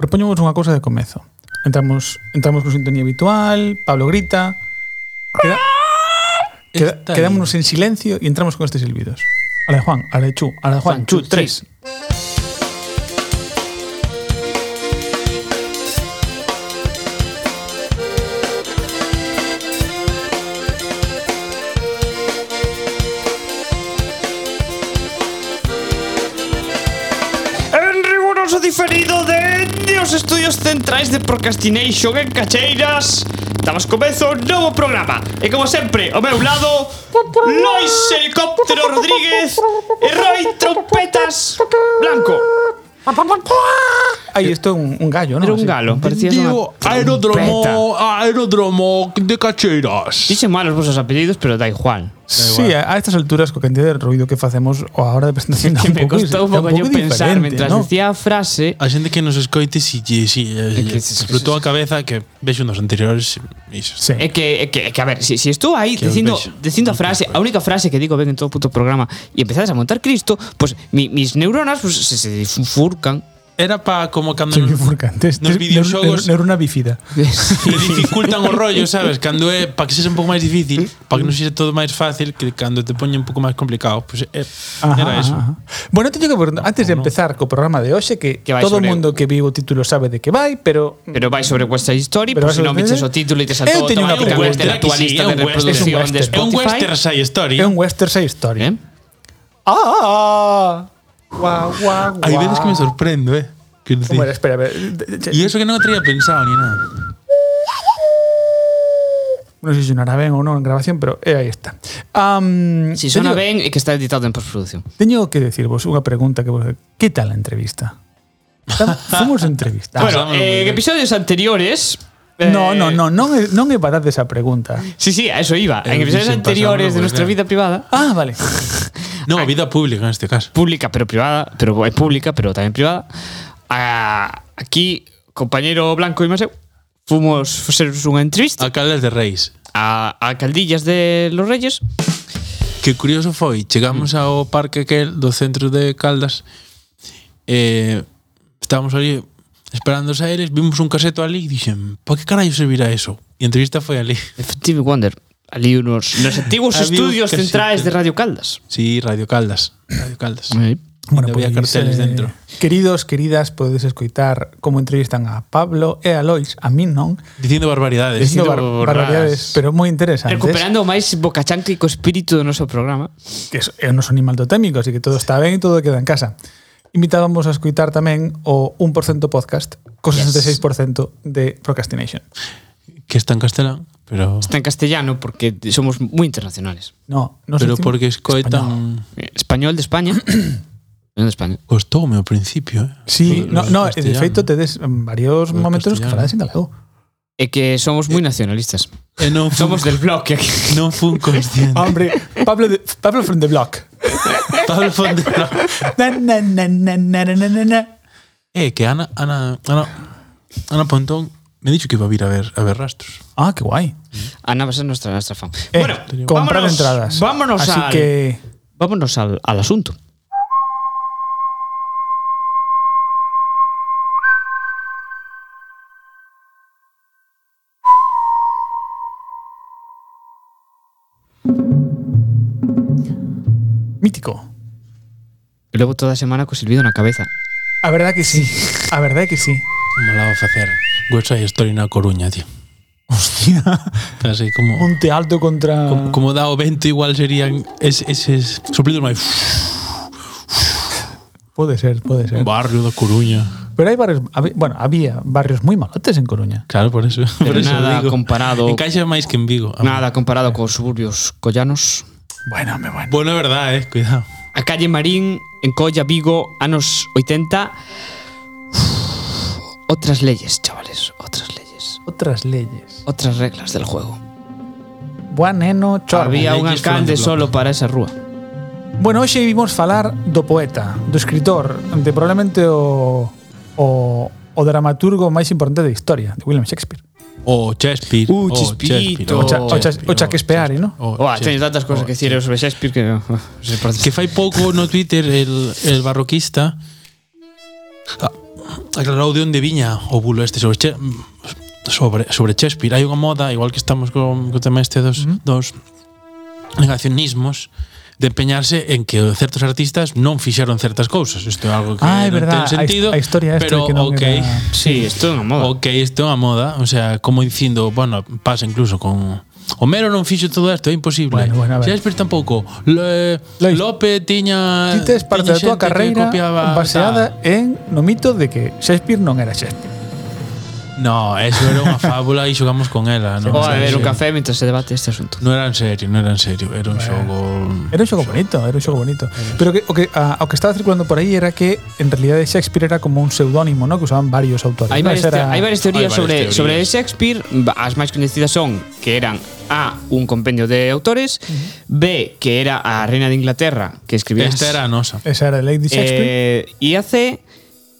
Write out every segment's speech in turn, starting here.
Propoñemos unha cousa de comezo. Entramos entramos con sintonía habitual, Pablo grita. Queda, queda, Está quedámonos en silencio e entramos con estes silbidos. A la de Juan, a la de Chu, a la de Juan, Juan, Chu, Chu, tres. En riguroso diferido de os estudios centrais de Procrastination en Cacheiras Estamos comezo un novo programa E como sempre, ao meu lado Lois Helicóptero Rodríguez E Roy Trompetas Blanco Aí isto é un, un gallo, non? Era un Así. galo, parecía unha Digo, aeródromo, aeródromo de cacheiras. Dixen mal os vosos apelidos, pero da igual Sí, a, a estas alturas, coa cantidad de ruido que facemos a hora de presentación Que me tampouco es- costou un pouco yo tampouco é pensar diferente, Mientras ¿no? decía a frase A xente que nos escoite si lle si, É que- lle explotou a cabeza que vexo nos anteriores iso. Sí. É Eh, que, é que, é que a ver, si, si estou aí Que os dicindo, vexo. dicindo a frase, a única frase que digo ben en todo puto programa e empezades a montar Cristo, pues mi, mis neuronas pues, se, se difurcan. Era pa como cando Se me nos, furcantes. Nos videoxogos- Neurona bífida. le dificultan o rollo, sabes? Cando é para que sexa un pouco máis difícil, para que non sexa todo máis fácil, que cando te poñen un pouco máis complicado, pues é, era eso. ajá. Bueno, teño que preguntar, antes de empezar co programa de hoxe que, Que vai todo o sobre- mundo que viu o título sabe de que vai, pero Pero vai sobre West Side Story, Pero por si vai non sobre- viches o título e te Eu saltou teño unha automáticamente da pregunta. tua Que sí, lista é de un western, reproducción de é É un Spotify. western side story. é un western side story. Eh? Ah! Guau, guau, Hai veces que me guau. sorprendo, eh. Que decir. Bueno, espera, a ver. E eso que non o traía pensado ni nada. Non sei se sonará ben ou non en grabación, pero eh, aí está. Um, Si sona ben é que está editado en postproducción. Teño que decirvos unha pregunta que vos... Que tal a entrevista? Tam- Fomos entrevistados. Bueno, Pasámoslo eh, en moi ben. episodios anteriores eh, No, no, no, non é, non é badade esa pregunta. Sí, sí, a eso iba. En Eh, episodios dicen anteriores de pasámoslo moi nuestra ben. vida privada, Ah, vale. No, a vida pública neste caso. pública pero privada, pero é pública pero tamén privada. A, aquí, compañero Blanco e Maseu, fomos facer unha entrevista A Caldas de Reis. a, a Caldillas de los Reyes. Que curioso foi, chegamos ao parque aquel do centro de Caldas eh, estábamos ali esperando os aires, vimos un caseto ali e dixen, pa que carallo servirá eso? E a entrevista foi ali. Stevie Wonder, ali unos nos antigos Había un estudios casete. centrais de Radio Caldas. Sí, Radio Caldas. Radio Caldas. Mm. Bueno, Bueno, había pois, carteles dentro. Queridos, queridas, podedes escoitar como entrevistan a Pablo e a Lois, a min non, Dicindo barbaridades. dicindo bar Dicindo barbaridades, borradas. pero moi interesantes. Recuperando o máis bocachánquico espírito do noso programa. Que so- eu non son animal totémico, así que todo está ben e todo queda en casa. Invitábamos a escoitar tamén o 1% podcast, co Yes. 66% de procrastination. Que está en castelán, pero... Está en castellano porque somos moi internacionales. No, non Pero sei- porque Español. escoitan... Eh, Español de España. Non de España. Costoume ao principio, eh? Sí, Todo no, lo no, e de castellano. feito tedes mm, varios Todo momentos que castellano. falades en galego. É que somos moi nacionalistas. E non fun, Somos del bloque aquí. non fun consciente. Hombre, Pablo, de, Pablo from the block. Pablo Fondela. Na, na, na, na, na, na, na, na. Eh, que Ana, Ana, Ana, Ana Pontón me dixo que iba a vir a ver, a ver rastros. Ah, que guai. Ana va a ser nuestra, nuestra fan. Eh, bueno, comprar vámonos, entradas. Vámonos Así al, que vámonos al, al asunto. mítico. Eu levo toda a semana co silbido na cabeza. A verdade que sí. A verdade que sí. Me la va a facer West Side Story na Coruña, tío. Hostia, Pero Así como... Monte Alto contra Como, como dá o vento igual serían es, eses soplidos máis Pode ser, pode ser. barrio da Coruña. Pero hai barrios, habe- bueno, había barrios moi malotes en Coruña. Claro, por eso. Pero por eso nada digo. comparado- Encaixa máis que en Vigo. Nada comparado cos suburbios collanos. Bueno, me bueno. Bueno, é verdade, eh, cuidado. A calle Marín, en Colla, Vigo, anos 80. Otras leyes, chavales, otras leyes. Outras leyes. Otras reglas del juego. Boa neno, chorro. Había un leyes fueron alcalde de solo para esa rúa. Bueno, hoxe vimos falar do poeta, do escritor, de probablemente o o, o dramaturgo máis importante da historia, de William Shakespeare. O Shakespeare. Uh, o Chespirito. O Oh, Shakespeare, Cha- o Cha- Shakespeare, o Chaquespeare, ¿no? o Oa, teño Shakespeare. tantas cosas que Oh, decir eu sobre Shakespeare que... oh, Que fai pouco no Twitter el, el barroquista aclarou de onde viña o bulo este sobre Che- sobre, sobre Shakespeare. Hai unha moda, igual que estamos con, co tema este dos, mm -hmm. dos negacionismos, de empeñarse en que certos artistas non fixeron certas cousas. Isto é algo que Ah, é non verdad, ten sentido, a his- a historia esta pero que non ok. era- Sí, esto é unha moda. Ok, isto é unha moda, o sea, como dicindo, bueno, pasa incluso con Homero non fixo todo isto, é imposible. Bueno, bueno, a ver. Shakespeare tampouco. Le, Lois, Lope tiña Ti tes parte tiña da túa xente que carreira copiaba, baseada en no mito de que Shakespeare non era Shakespeare. tal. No, eso era unha fábula e xogamos con ela, non? Vou a beber Sí, un sí. café mientras se debate este asunto. Non era en serio, non era en serio, era un xogo. Era un xogo bonito, era un xogo bonito. Pero que, o, que, a, o que estaba circulando por aí era que en realidad Shakespeare era como un seudónimo, ¿no? que usaban varios autores. Hai ¿no? varias, Esa era- hai varias teorías Hai varias sobre sobre teorías. Shakespeare, Ba- as máis coñecidas son que eran A, un compendio de autores, B, que era a reina de Inglaterra que escribía Esta era a nosa. Esa era Lady Shakespeare. eh, e a C,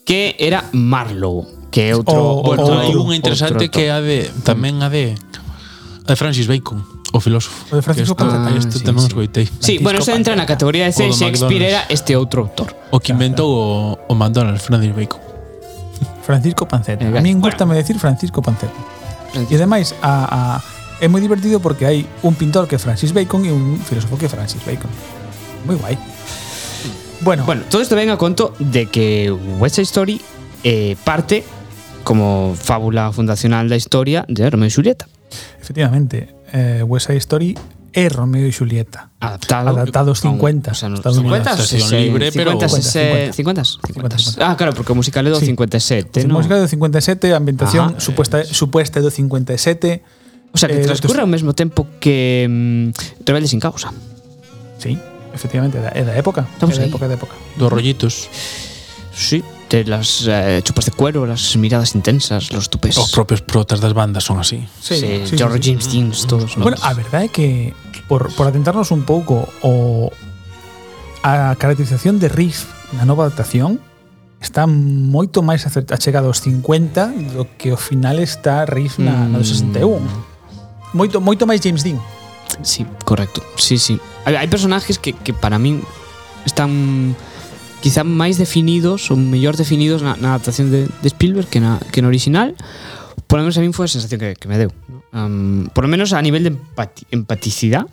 que era Marlowe, que é O- outro Bueno, outro- hai unha interesante outro autor. que é a de tamén a de a de Francis Bacon, o filósofo. O de Francis Que isto- Bacon. a Isto Ah, sí, tamén sí. os coitei. Sí, bueno, se entra na categoría de O C, do Shakespeare era McDonald's. este outro autor. O que inventou o, o McDonald's, Francis Bacon. Francisco Panceta. Eh, A min bueno. gustame decir Francisco Panceta. E Francisco. ademais, a, a, é moi divertido porque hai un pintor que é Francis Bacon e un filósofo que é Francis Bacon. Moi guai. Bueno, Bueno, todo esto venga a conto de que West Side Story eh, parte como fábula fundacional da historia de Romeo e Julieta, efectivamente, eh, West Side Story é Romeo e Julieta. adaptado Adaptados a un- 50, o sea, no- Estados Unidos. 50, Adaptación 60, libre, pero- 50, 50. 60, 50, 50. 50. Ah, claro, porque o musical é do Sí. Pues 57, Ten ¿no? música do 57, a ambientación Ajá. supuesta, supuesta do 57. O sea, que eh, transcurre ao mesmo tempo que mm, Rebelde sin causa. Sí, efectivamente, é da, é da época. Estamos é da aí. época, é da época. Dos rollitos. Sí, de las eh, chupas de cuero, las miradas intensas, los Pues tupés. Os propios protas das bandas son así. sí, George James Deans, todos. ¿no? Bueno, a verdade é que por, por atentarnos un pouco o a caracterización de Riff na nova adaptación está moito máis acer- achegada aos 50 do que ao final está Riff na, Mm. na do 61. Moito moito máis James Dean. Sí, correcto. Sí, sí. Hay, hay personajes que, que para mí están quizá máis definidos ou mellor definidos na, na adaptación de, de Spielberg que na, que na original. Por lo menos a mí foi a sensación que, que me deu. ¿no? Am, por lo menos a nivel de empati, empaticidade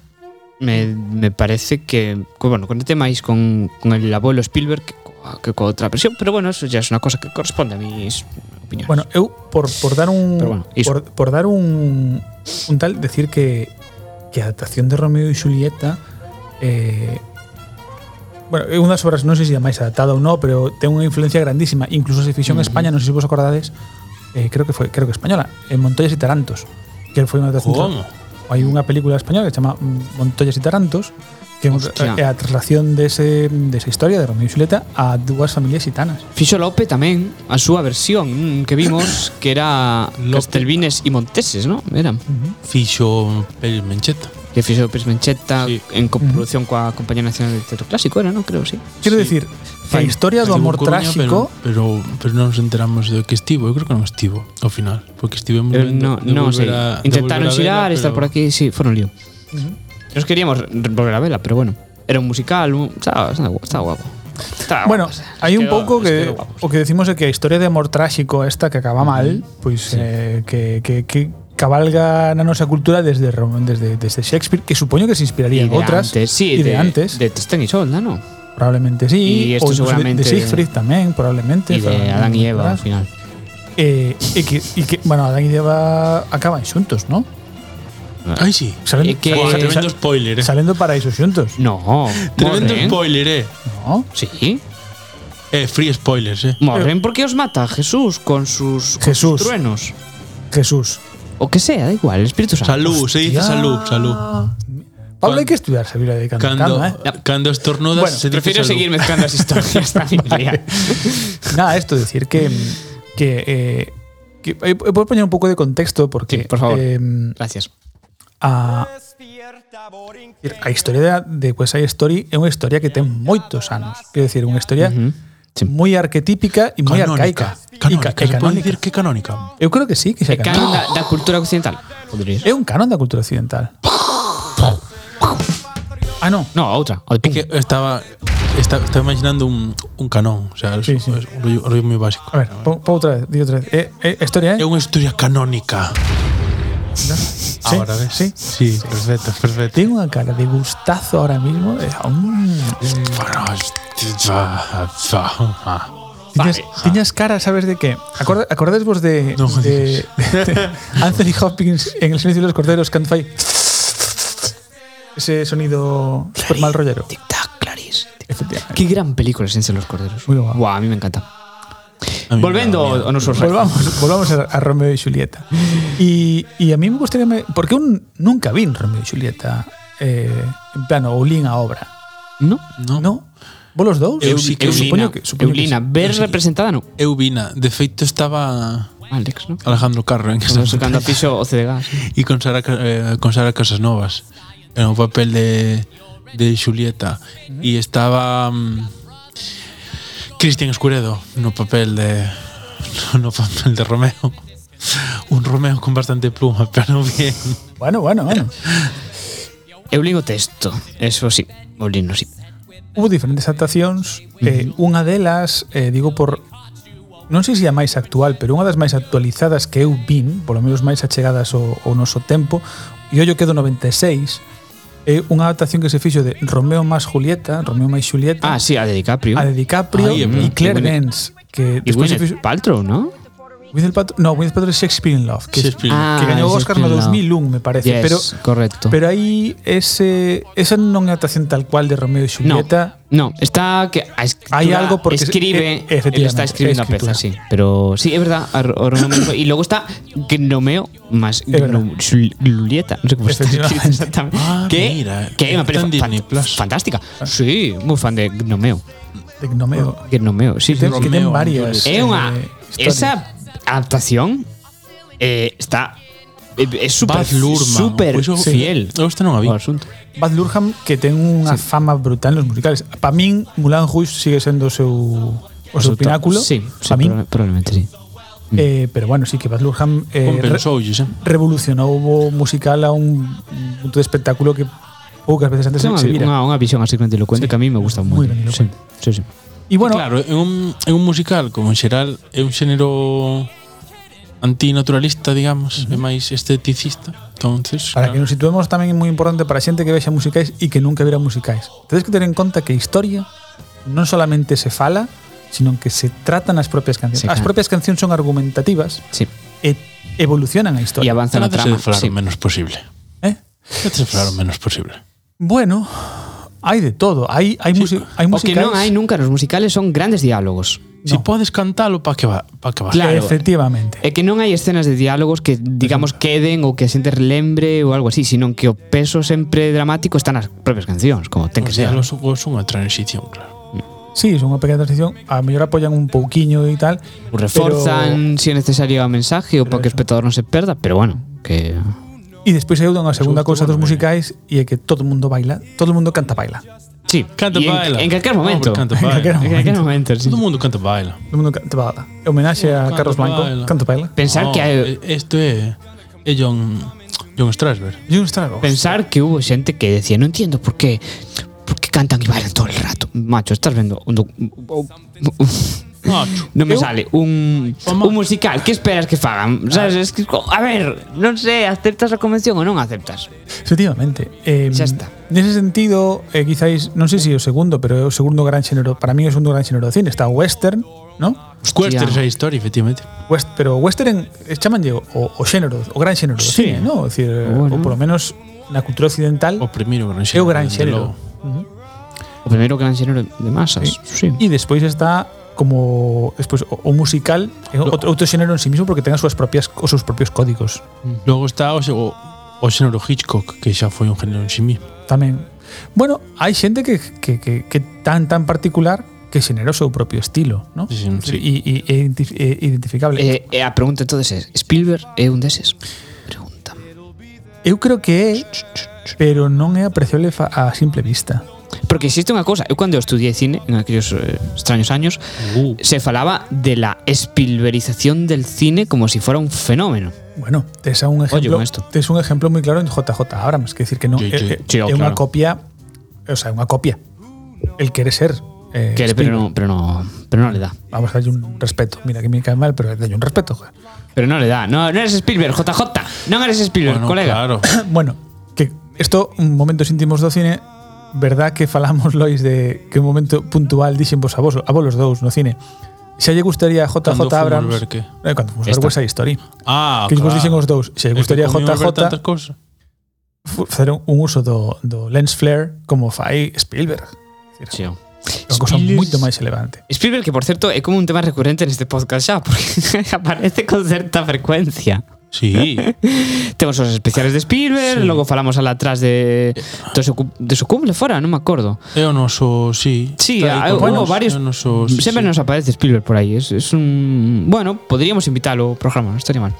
me, me parece que, que bueno, conecté máis con, con el abuelo Spielberg que, coa- que con outra versión, pero bueno, eso ya es una cosa que corresponde a mis opiniones. Bueno, eu por, por dar un Pero bueno, iso. por, por dar un un tal decir que que a adaptación de Romeo e Julieta eh Bueno, é unha das obras, non sei se é máis adaptada ou non, pero ten unha influencia grandísima. Incluso se fixou en Mm-hmm. España, non sei se vos acordades, eh, creo que foi, creo que española, en Montoyas e Tarantos, que foi unha adaptación. Como? Hai unha película española que se chama mm, Montoyas e Tarantos, que é unha- Hostia. é a traslación dese, desa historia de Romeo e Julieta a dúas familias xitanas. Fixo Lope tamén a súa versión mm, que vimos que era Lope. Castelvines e Monteses, non? Era. Fixo pel Mencheta. Que fixo Pérez Mencheta Sí. sí. en coproducción coa Compañía Nacional de Teatro Clásico, era, non? Creo, sí. Quero Sí. decir, que a historia do Estivo en amor Coruña, trágico Pero, pero, pero non nos enteramos de que estivo. Eu creo que non estivo, ao final. Porque estivemos Eh, no, vendo non sei. Intentaron xirar, estar por aquí, sí, foron lío. Nos queríamos re- volver a vela, pero bueno. Era un musical, un, estaba, estaba guapo. Estaba guapo. Estaba Bueno, guapo, o sea, hai un quedó- pouco que quedó guapo. o que decimos é que a historia de amor tráxico esta que acaba mal, pois eh, que, que, que cabalga na nosa cultura desde Rom- desde desde Shakespeare, que supoño que se inspiraría Y en de outras antes, sí, e de, de antes, De Tristan y Solda, ¿no? probablemente sí, y esto ou incluso de- de, seguramente- Siegfried tamén, probablemente. Y de probablemente Adán y Eva, al outras. final. Eh, e que e que bueno, Adán e Eva acaban xuntos, ¿no? Ai, sí. Salen, É que- Buah, salen- tremendo spoiler, eh. salen do paraíso xuntos. No, Tremendo morren. spoiler, eh. No. Sí. Eh, free spoilers, eh. Morren porque os mata Jesús con sus, con Jesús. sus truenos. Jesús. O que sea, da igual, el Espíritu Santo. Salud, se dice Ya. salud, salud. Pablo, hai que estudar a Biblia de cando, en Cando, cando eh? cando estornudas Bueno, se dice Prefiero salud. seguir mezclando las historias da Biblia. Nada, esto decir que. que, eh, que- eh, puedo poner un poco de contexto porque. Sí, por favor. eh, Gracias. a, a historia de, de West Side Story é unha historia que ten moitos anos. Quero decir, unha historia Sí. moi arquetípica e moi arcaica. E ca- e Canónica. Canónica. Se pode canónica. decir que canónica. Eu creo que sí, que xa El canon canónica. da, da cultura occidental. Podría É ser. un canon da cultura occidental. Ah, non. No, a outra. ao de É pum. que estaba está, está imaginando un, un canón, o sea, es, Sí, sí. es un rollo, rollo muy básico. A ver, pon, pon otra vez, di otra vez. Eh, eh, historia, É ¿eh? unha historia canónica. Sí, Ahora ves. Sí. sí, perfecto, perfecto. Tengo una cara de gustazo ahora mismo. eh, de- mm. Tiñas, tiñas cara, ¿sabes de qué? Acorda, acordades vos de, ah. No de, de Anthony Hopkins en El silencio de los corderos cuando fai ese sonido super mal rollero? Tic tac, Clarice. Efectivamente. Qué gran película es Ciencia de los Corderos. Muy guapa. Buah, a mí me encanta. Volviendo a nosotros. Volvamos, volvamos a, a Romeo y Julieta. Y, y a mí me gustaría... me- porque un, nunca vi Romeo y Julieta eh, en plano, ou lín a obra. ¿No? No. no. No? Vos los dous? Eu sí que- Eu Eulina. supoño que, supoño que Eulina. sí. Ver representada, no. Eu vina, de feito estaba Alex, ¿no? Alejandro Carro en Estamos esa sacando a piso o de gas. e con Sara Ca- eh, con Sara Casasnovas en o papel de de Julieta e estaba mm, Cristian Escuredo no papel de no papel de Romeo. Un Romeo con bastante pluma, pero bien. Bueno, bueno, bueno. Eulino texto. Eso sí. Eulino sí. Hubo diferentes adaptacións eh, Unha delas, eh, digo por Non sei se a máis actual Pero unha das máis actualizadas que eu vin Polo menos máis achegadas ao, ao noso tempo E ollo que é do 96 É unha adaptación que se fixo de Romeo máis Julieta Romeo máis Julieta Ah, sí, a de DiCaprio. A de DiCaprio e Ai, é verdade. Claire E Gwyneth- Dance Que y despois se fixo Gwyneth Paltrow, ¿no? Gwyneth Paltrow- No, Gwyneth Paltrow é Shakespeare in Love Que, Shakespeare. Ah, que gañou o Oscar no Shakespeare in 2001, Love. me parece Yes, Pero correcto. Pero aí ese, esa non é a adaptación tal cual de Romeo e no, Julieta no, está que a escritura Hay algo porque- e- escribe, efectivamente, él está escribiendo escritura. la pieza, sí. Pero sí, es verdad, ar- ornamento. y luego está Gnomeo más Es verdad. Gnu- Jul- Julieta, no sé cómo está escrito Efectivamente. exactamente. Ah, que, mira, que es una está en película Disney fan- Plus. fantástica. Ah. Sí, muy fan de Gnomeo. de Gnomeo Gnomeo, sí. Que sí. ten, que ten Romeo, varias. É oh. eh, unha historias. esa adaptación eh, está eh, es súper Baz Luhrmann, súper Pues pois eu- fiel eu este non a vi. ao asunto. Baz Luhrmann que ten unha fama brutal nos musicales. Para min Mulan Rouge sigue sendo o seu o seu pináculo. Sí, sí para min, proba- probablemente sí. eh, pero bueno, sí que Baz Luhrmann eh, Compensoulles, eh. re- revolucionou o musical a un un punto de espectáculo que poucas veces antes se, Ten unha, se vira. unha, unha visión así grandilocuente que a mí me gusta moi moito. sí, grandilocuente. sí, sí. E bueno, claro, é un, é un musical como en xeral é un xénero antinaturalista, digamos, é máis esteticista. Entonces, Para que nos situemos tamén é moi importante para a xente que vexa musicais e que nunca vira musicais. Tedes que ter en conta que a historia non solamente se fala, sino que se tratan as propias cancións. Sí, As claro. propias cancións son argumentativas sí. e evolucionan a E historia. avanza na trama. trátase de falar Sí. o menos posible. Eh? Trátase de falar o menos posible. Bueno, hai de todo. Hai, hai, musi hai O que musicais... non hai nunca nos musicales son grandes diálogos. Si podes cantalo, pa que va, pa que va. Claro. Eh. Efectivamente. É que non hai escenas de diálogos que, digamos, queden ou que a xente relembre ou algo así, sino que o peso sempre dramático está nas propias cancións, como ten O que sea, ser. los jugos unha transición, claro. Sí, son unha pequena transición. A mellor apoian un pouquiño e tal. O reforzan, se si é necesario, o mensaje ou para que o eso. espectador non se perda, pero bueno, que... Pero, e despois hai unha segunda Eso cousa dos estuvo moi musicais e é que todo o mundo baila, todo o mundo canta baila. Sí, Canta y en, baila. en calquer momento. Hombre, canta En calquera baila. en calquer momento, sí. Todo o mundo canta baila. Todo mundo canta baila. É homenaxe a Canta Carlos Blanco. baila. Canta baila. Pensar No, que hai... eh, Esto é é John John Strasberg. Jim Strago. Pensar que hubo gente que decía, no entiendo por qué, por qué cantan y bailan todo el rato. Macho, estás viendo un doc- Ah, Macho. No me Eu- sale un, un musical. ¿Qué esperas que fagan? ¿Sabes? Es que, a ver, no sé, ¿aceptas la convención o no aceptas? Efectivamente. Eh, Xa está. Nese sentido, eh, quizáis, non sei se é o segundo, pero é o segundo gran xénero, para mí é o segundo gran xénero de cine, está o western, ¿no? Cuesta esa historia, efectivamente. West, pero western en, chamanlle o, o xénero, o gran xénero do Sí. cine, ¿no? O, decir, eh, Bueno. o polo menos na cultura occidental O primeiro gran é xénero. o gran dende xénero. logo. Ujú. O primero gran género de masas. Sí. E despois está como despois o, o musical, é outro, outro xénero en sí mismo porque ten as súas propias os seus propios códigos. Logo está o, xe- o, o xénero Hitchcock, que xa foi un género en sí mismo. Tamén. Bueno, hai xente que, que, que, que tan tan particular que xenera o seu propio estilo, ¿no? Sí, sí, sí. E- E, e identif- e identificable. Eh, eh, a pregunta entonces es, ¿Spielberg es un deses? Pregunta. eu creo que é, pero non é apreciable fa- a simple vista. Porque existe una cosa, yo cuando estudié cine en aquellos eh, extraños años, Uh, se falaba de la Spielberización del cine como si fuera un fenómeno. Bueno, tes a un Oye, ejemplo, con esto. tes un ejemplo moi claro en JJ Abrams, que decir que non Sí, é, sí. é, Sí, é claro. unha copia, o sea, é unha copia. él quiere ser. eh, Quiere, Spielberg. pero no, pero no, pero no le da. Vamos a darle un respeto. Mira que me cae mal, pero darle un respeto, joder. Pero no le da. No, no eres Spielberg, JJ. No eres Spielberg, Bueno, colega. Claro. Bueno, que esto, un momentos íntimos do cine, verdad que falamos, Lois, de que un momento puntual dixen vos a vos, a vos los dous no cine. Se lle gustaría a JJ Cando fomos Abrams... ver que? Eh, cando fomos ver Esta. West Side Story. Ah, que vos claro. dixen os dous. Se lle gustaría a Es que comimos ver JJ tantas cosas. fu- facer un uso do, do lens flare como fai Spielberg. É dicir, Sí. Unha cosa Spielberg- moito máis elevante. Spielberg, que por cierto es como un tema recurrente en este podcast ya, porque aparece con cierta frecuencia. Sí. Temos os especiales de Spielberg, logo falamos al atrás de do seu, cu- de su cumple fora, non me acordo. Eu non sou, sí. Sí, Tal hai- e como hubo nos, varios- Eu non sou, sí, Siempre sí. nos aparece Spielberg por ahí. Es, es un. Bueno, podríamos invitarlo al programa, no estaría mal.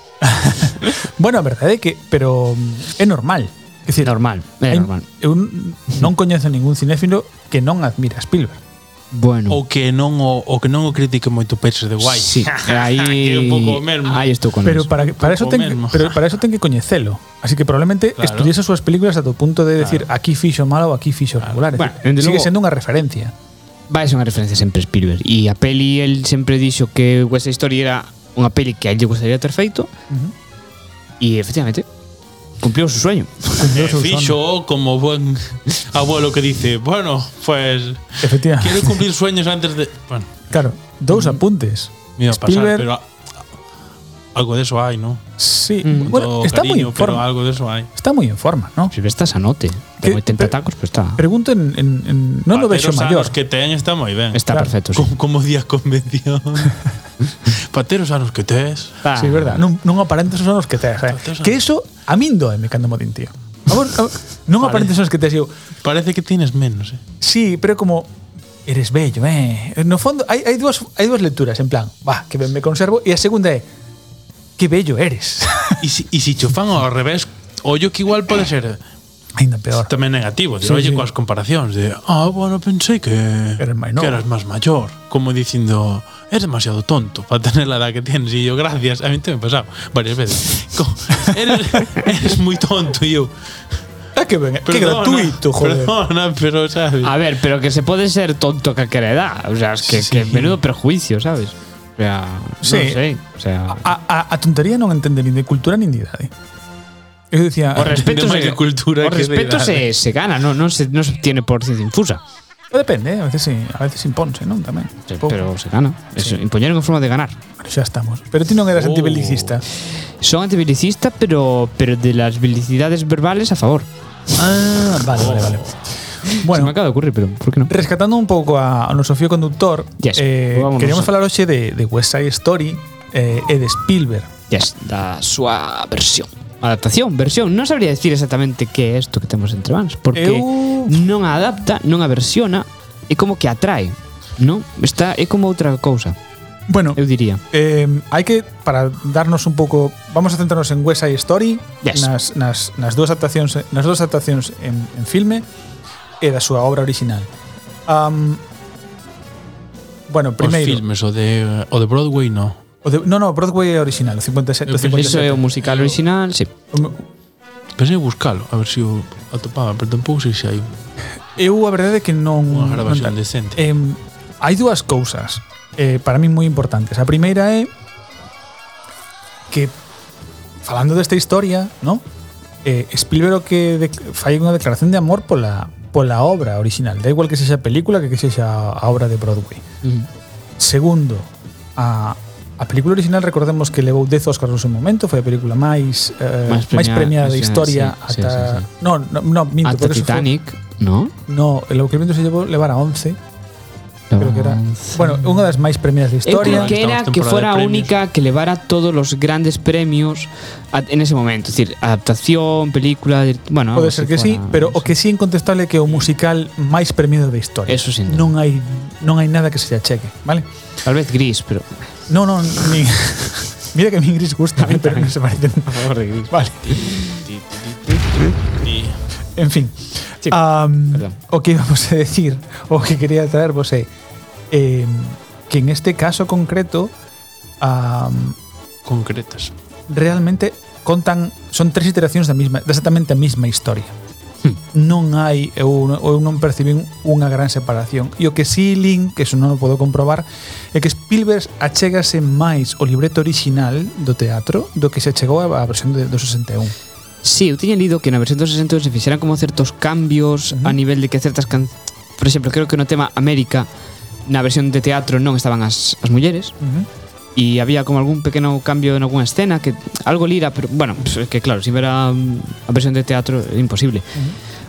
Bueno, a verdade é que... Pero mm, é normal. É dicir, Normal, é hai- normal. Eu n- non coñezo ningún cinéfilo que non admira a Spielberg. Bueno. O que non o, o que non o critique moito peche de guai. Sí, ahí. É un pouco o mesmo. Ahí estou con Pero eso. para, para eso o ten, mesmo. pero para eso ten que coñecelo. Así que probablemente Claro. estudiese sus películas hasta tu punto de decir aquí fixo malo o aquí fixo regular. Es Bueno, decir, dende sigue logo- siendo una referencia. Vai ser unha referencia sempre a Spielberg E a peli, el sempre dixo que West Side Story era unha peli que a ele lle gustaría ter feito E efectivamente Cumpliu o seu sueño Cumplió Eh, su son. fixo como buen abuelo que dice, bueno, pues Efectivamente. quiero cumplir sueños antes de, bueno, Claro, dos apuntes. me iba a pasar, Spielberg- pero a- algo de eso hay, ¿no? Sí, Mm. bueno, Todo está muy cariño, en pero forma. algo de eso hay. Está muy en forma, ¿no? Spielberg está sanote Que- Ten 80 pero- tacos, pero está Pregunto en, en- en- no lo Para veo ter os mayor. anos que ten está moi ben. Está claro, perfecto, sí como, como día convención. Para ter os anos que tes. Está- Sí, es verdad. No, aparentes son los que te eh. Entonces, Que eso a mí eh, me cando modín, tío. Vamos, a- non aparentes son los que te digo. Parece que tienes menos, eh. Sí, pero como eres bello, eh. No fondo hai, hai dúas hai dúas lecturas en plan, va, que ben me conservo e a segunda é que bello eres. E si, e si chofan ao revés, ollo que igual pode ser eh, Ainda peor. tamén negativo. De, Ah. Sí, oye, sí. coas comparacións de, ah, bueno, pensei que Eres máis novo." que eras máis maior. Como dicindo, eres demasiado tonto para tener la edad que tienes. E eu, gracias, a mí te me pasado varias veces. Co- eres, eres moi tonto, e eu, Ah, que ben, que perdona, gratuito, joder. Ah, Perdona, pero, sabes, A ver, pero que se pode ser tonto a calquera edad O sea, es que, Sí. que menudo perjuicio, sabes O sea, Sí. Ah, no sei O sea, A, a, a tontería non entende nin de cultura nin de idade. Eu dicía, o respeto máis se, de cultura o que de respeto se, se gana, non, non, se, non se obtiene por ciencia infusa depende, eh, a veces sí, a veces imponse, non tamén. Sí, Pouco. Pero se gana. Eso, Impoñeron unha forma de ganar. Bueno, xa estamos. Pero ti non eras Oh. antibelicista. Son antibelicista, pero, pero de las belicidades verbales a favor. Ah, vale, vale, vale. Se me Bueno, acaba de ocurrir, pero ¿por qué no? Rescatando un pouco a, ao noso fío conductor, Yes, eh, vámonos. queríamos falar hoxe de, de West Side Story eh, e de Spielberg. Yes, da súa versión. Adaptación, versión. Non sabría decir exactamente que é isto que temos entre mans, porque Eu- non a adapta, non a versiona, é como que atrae, non? Está é como outra cousa, Bueno, eu diría. eh, hai que, para darnos un pouco, vamos a centrarnos en West Side Story, Yes. nas, nas, nas dúas adaptacións, nas dúas adaptacións en, en filme e da súa obra original. Um, bueno, os primeiro, filmes, o de, o de Broadway, no. o de, no, no, Broadway é original, o 57, o Eu pensei- Iso é 57. o musical original, sí. Pensei buscalo, a ver se o atopaba, pero tampouco sei se hai Eu a verdade é que non unha non grabación tal. decente. Eh, hai dúas cousas eh, para mí moi importantes. A primeira é que falando desta historia, no? Eh, Spielberg o que de, fai unha declaración de amor pola pola obra original. Da igual que sexa película que que sexa a obra de Broadway. Mm. Segundo, a a película original recordemos que levou 10 Oscars no seu momento, foi a película máis eh, Máis máis premiada, premiada, da sí, historia sí, sí, ata sí, sí. No, no, no, minto, Ata porque eso foi- Titanic, non? No, el Euclideo se llevó levar a 11, creo que era. Bueno, unha das máis premiadas da Eu historia. creo que era Estamos que temporada fuera a de premios. única que levara todos los grandes premios a- en ese momento. Es decir, adaptación, película. dir- Bueno, Pode ser algo así que sí, fuera, pero o no que sí é incontestable é que é o musical máis premiado da historia. Eso sin duda. non hai non hai nada que se lle acheque, vale? sé. Tal vez gris, pero. No, no, ni Mira que a mi gris gusta, eh, pero non se parece. Vale. En fin. Sí, Am, perdón. o que íbamos a decir, o que quería traervos é eh, que en este caso concreto am, Concretas. realmente contan son tres iteracións da mesma, da exactamente a mesma historia. non hai eu, non- eu non percibín unha gran separación. E o que si Lin, que eso non o podo comprobar, é que Spielberg achégase máis o libreto orixinal do teatro do que se achegou á versión de, do 61. Sí, eu tiña lido que na versión 260 se fixeran como certos cambios a nivel de que certas can... Por exemplo, creo que no tema América na versión de teatro non estaban as, as mulleres Uh -huh. e había como algún pequeno cambio en algunha escena que algo lira, pero bueno, pues, é que claro, se ver a, a versión de teatro é imposible.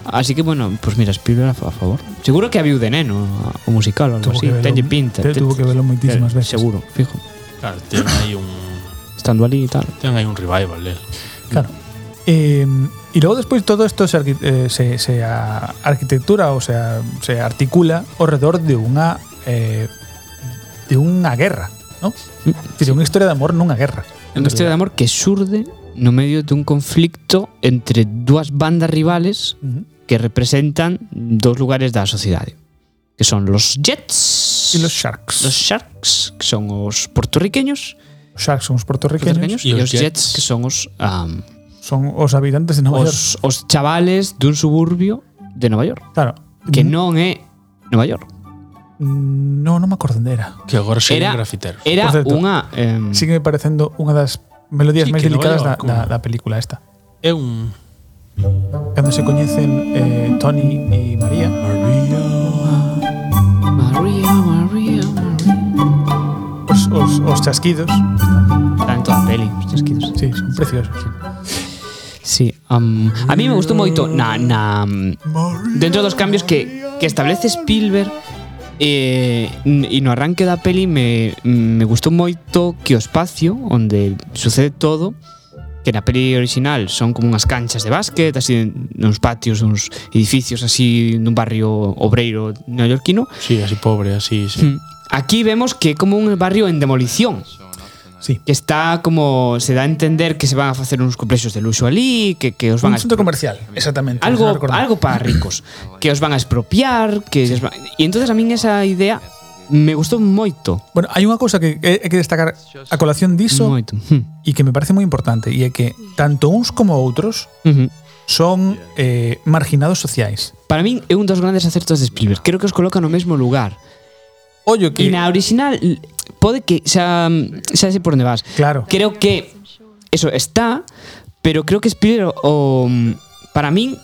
Así que bueno, pues mira, Spielberg a, fa- a favor. Seguro que había de neno a- o musical ou algo Tuvo así, que velo- tenlle pinta. te- tuvo que velo moitísimas veces. Seguro, fijo. Claro, ten aí un Estando ali e tal. ten aí un revival, eh. Claro. Eh, y luego después todo esto se, arqui- eh, se, se a- arquitectura, o sea, se articula alrededor de una eh, de una guerra, ¿no? Es una historia de amor, no una guerra. Unha historia Mm. de amor que surde no medio dun conflicto entre dúas bandas rivales Ujú. que representan dos lugares da sociedade, que son los Jets Y los Sharks. los Sharks, que son os portorriqueños, Los Sharks son los portorriqueños puertorriqueños, e os Jets, que son os am, son los habitantes de Nueva York. os, os chavales dun suburbio de Nova York, Claro. que non é Nova York. Mm, No, no me acordo onde era. Que agora xa Era- era grafitero. Era Por certo, unha em, Sigue parecendo una de las melodías Sí, más que Nueva delicadas York, de como- la película esta. É un Cuando se conocen eh, Tony y María, María, María, María. os, pues os- os chasquidos, Está en toda a peli, os chasquidos. sí, son preciosos. Sí, am, a mí me gustou moito na, na dentro dos cambios que, que establece Spielberg eh, n- e no arranque da peli me, me gustou moito que o espacio onde sucede todo que na peli original son como unhas canchas de básquet, así uns patios, uns edificios así nun barrio obreiro neoyorquino. Sí, así pobre, así, sí. Hmm. Aquí vemos que é como un barrio en demolición, Sí. que está como se dá a entender que se van a facer uns complexos de luxo ali, que, que os van Un a centro comercial, exactamente. no algo, recuerdo. algo para ricos que os van a expropiar que les va- y entonces a min esa idea me gustou moito Bueno, hai unha cousa que hai que destacar a colación diso moito Hm. e que me parece moi importante e é que tanto uns como outros Ujú. son eh, marginados sociais. para min é un dos grandes acertos de Spielberg creo que os coloca no mesmo lugar Ollo e que na original l- pode que xa, xa sei por onde vas Claro. creo que eso está pero creo que Spielberg o, para min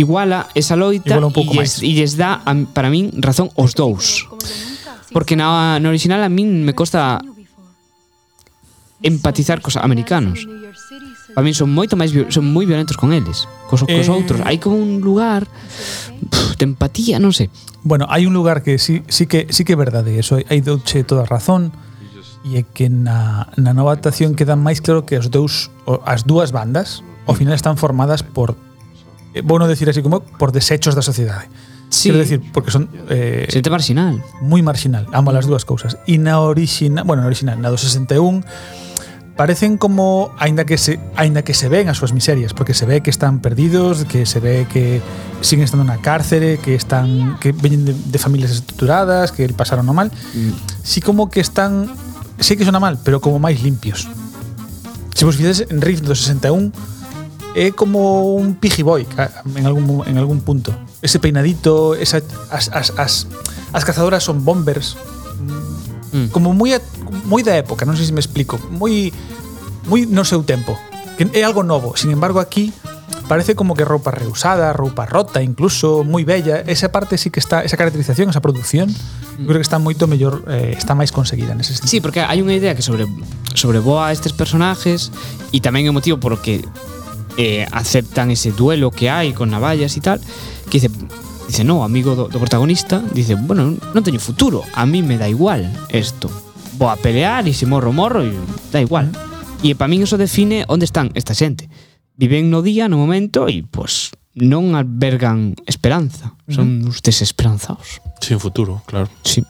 iguala esa loita Iguala un pouco e máis. lles, e lles dá a- para min razón os dous Porque na, na original a min me costa empatizar cos americanos. Para min son moito máis viol- son moi violentos con eles, cos, cos Eh. outros. Hai como un lugar pff, de empatía, non sei. Bueno, hai un lugar que sí, sí que sí que é verdade, eso hai douche toda a razón e é que na, na nova adaptación queda máis claro que os deus o- as dúas bandas ao final están formadas por eh, vou non decir así como por desechos da sociedade. Sí. Quero decir, porque son eh, Xente marginal. moi marxinal, amo as dúas cousas. E na original, bueno, na original, na do 61 parecen como aínda que se aínda que se ven as súas miserias, porque se ve que están perdidos, que se ve que siguen estando na cárcere, que están que veñen de, de familias estructuradas, que pasaron no mal. Sí como que están sí que sona mal, pero como máis limpios. Se vos fixades en Rift do 61 é como un Piggy Boy ca- en algún, mo- en algún punto. Ese peinadito, esa, as, as, as, as cazadoras son bombers. Mm. Como moi, a- moi da época, non sei se me explico. Moi, moi no seu tempo. Que é algo novo. Sin embargo, aquí parece como que roupa reusada, roupa rota incluso, moi bella. Esa parte sí que está, esa caracterización, esa producción, mm. creo que está moito mellor, eh, está máis conseguida nese sentido. Sí, porque hai unha idea que sobre sobrevoa a estes personajes e tamén é o motivo por o que eh, aceptan ese duelo que hai con navallas e tal, que dice dice, "No, amigo do, do protagonista", dice, "Bueno, non teño futuro, a mí me da igual isto. Vou a pelear e se morro morro e da igual." E para min eso define onde están esta xente. Viven no día, no momento e pois non albergan esperanza, son uns desesperanzados. Sin futuro, claro. Sí.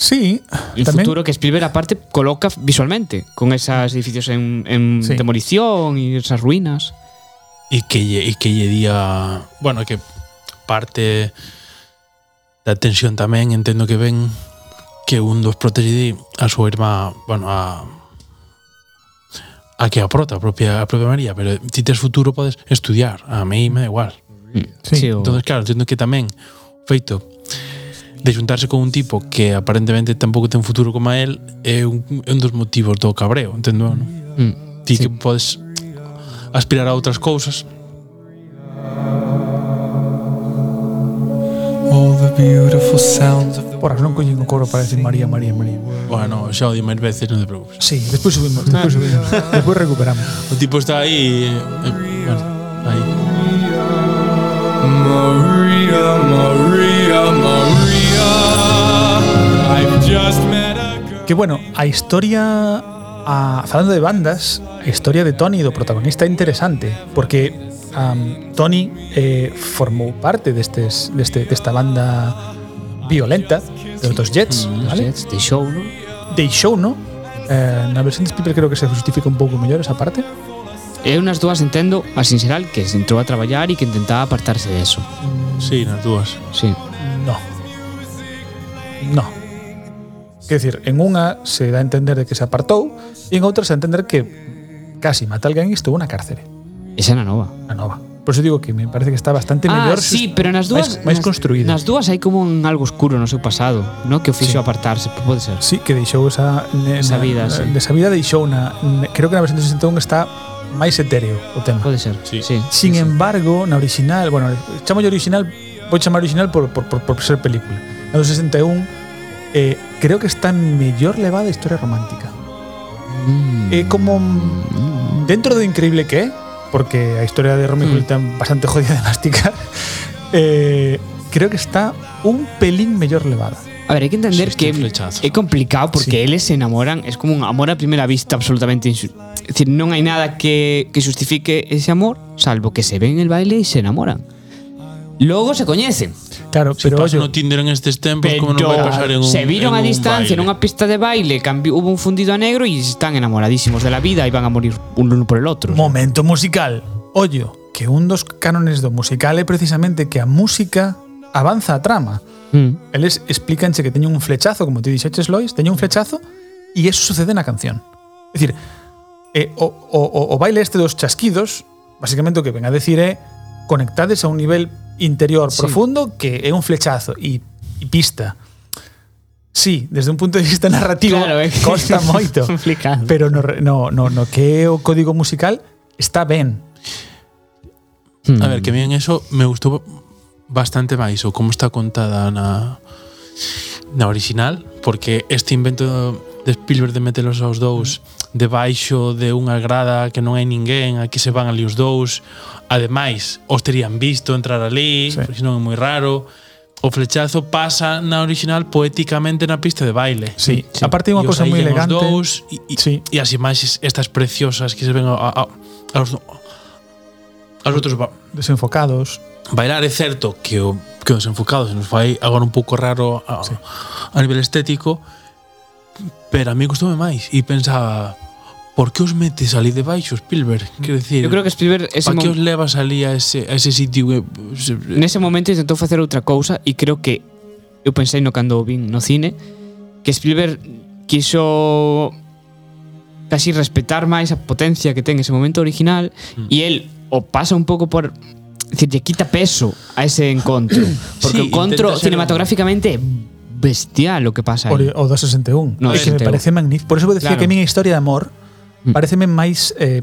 sí El tamén- futuro que Spielberg aparte coloca visualmente, con esos edificios en, en Sí. demolición y esas ruinas. E que lle, e que lle día, bueno, que parte da tensión tamén entendo que ven que un dos protegidi a súa irmá, bueno, a a que a prota, a propia, a propia María, pero ti tes futuro podes estudiar, a mí me da igual. Sí. Sí, o- Entonces, claro, entiendo que tamén o feito de xuntarse con un tipo que aparentemente tampouco ten futuro como a él é un, é un dos motivos do cabreo, entendo, non? Mm. Ti sí. que podes aspirar a outras cousas. All the beautiful sounds of the Porras, non coñen o coro para decir María, María, María. Bueno, xa o di máis veces, non te preocupes. Sí, despois subimos, despois subimos. despois recuperamos. O tipo está aí... Eh, eh, bueno, aí. Maria, Maria, Maria. I've just met a girl. Que bueno, a historia a, falando de bandas, a historia de Tony do protagonista é interesante, porque am, Tony eh, formou parte destes, deste, desta banda violenta de los Jets, mm, Los ¿vale? Jets, The Show, ¿no? Deixou, no? Eh, na versión de Spielberg creo que se justifica un pouco mellor esa parte. E unas dúas entendo a sinceral que se entrou a traballar e que intentaba apartarse de eso. Sí, nas dúas. Sí. No. No. Quer dicir, en unha se dá a entender de que se apartou e en outra se dá a entender que casi mata alguén e estuvo na cárcere. Esa era nova. a nova. Por eso digo que me parece que está bastante Ah, mellor. sí, pero nas máis- dúas máis nas- construído. Nas dúas hai como un algo oscuro no seu pasado, ¿no? Que o Sí. fixo apartarse, pode ser. Sí, que deixou esa ne- Esa na- vida, na- sí. Desa vida deixou na ne- creo que na versión de 61 está máis etéreo o tema. Pode ser. Sí. sí. Sin embargo, na original, bueno, chamo original, vou chamar original por, por, por, por ser película. Na do 61 eh, creo que está mellor levada a historia romántica. Mm. É como mm, dentro do increíble que é, porque a historia de Romeo mm. é bastante jodida de masticar. Eh, creo que está un pelín mellor levada. A ver, hay que entender Sí, que este flechazo. es complicado porque Sí. ellos se enamoran, es como un amor a primera vista absolutamente insu- Es decir, no hay nada que, que justifique ese amor, salvo que se ven en el baile y se enamoran. Luego se coñecen, Claro, Se pero pasa ollo, no Tinder en estes tempos, pero como non vai pasar en un se vieron a en un distancia en baile. una pista de baile, cambió- hubo un fundido a negro y están enamoradísimos de la vida y van a morir un uno por el otro. Momento musical. Ollo, que un dos cánones do musical é precisamente que a música avanza a trama. Mm. Eles explícanche que teñen un flechazo, como ti dixeches, Lois, teñen un flechazo e eso sucede na canción. É dicir, eh, o, o, o, o baile este dos chasquidos, basicamente o que ven a decir é conectades a un nivel interior Sí. profundo que é un flechazo e, e pista. Sí, desde un punto de vista narrativo Claro, é que- costa moito. Complicado. Pero no, re- no, no, no que é o código musical está ben. Mm. A ver, que a mí en eso me gustou bastante máis o como está contada na na original, porque este invento de Spielberg de metelos aos dous Mm. debaixo de unha grada que non hai ninguén, aquí se van ali os dous. Ademais, os terían visto entrar ali, Sí. sí. porque senón é moi raro. O flechazo pasa na original poéticamente na pista de baile. Sí. Aparte é unha E os cosa moi aíllan os elegante. dous, e, e, Sí. e as imaxes estas preciosas que se ven a, a, a, aos, aos outros ba- Desenfocados. Bailar é certo que o que os enfocados nos fai agora un pouco raro a, sí. a nivel estético, pero a mí gustoume máis e pensaba por que os metes ali debaixo, Spielberg? Quer decir, Yo Mm. creo que Spielberg ese pa que mo- os levas ali a ese, a ese sitio eh, se- nese momento intentou facer outra cousa e creo que eu pensei no cando o vin no cine que Spielberg quiso casi respetar máis a potencia que ten ese momento original Mm. e el o pasa un pouco por decir, lle quita peso a ese encontro porque o Sí, encontro intenta ser un- cinematográficamente é bestial o que pasa Ori- aí. O do 61. No, é que me 61. parece magnífico. Por eso vou decía Claro. que a mí a historia de amor Mm. pareceme máis... Eh,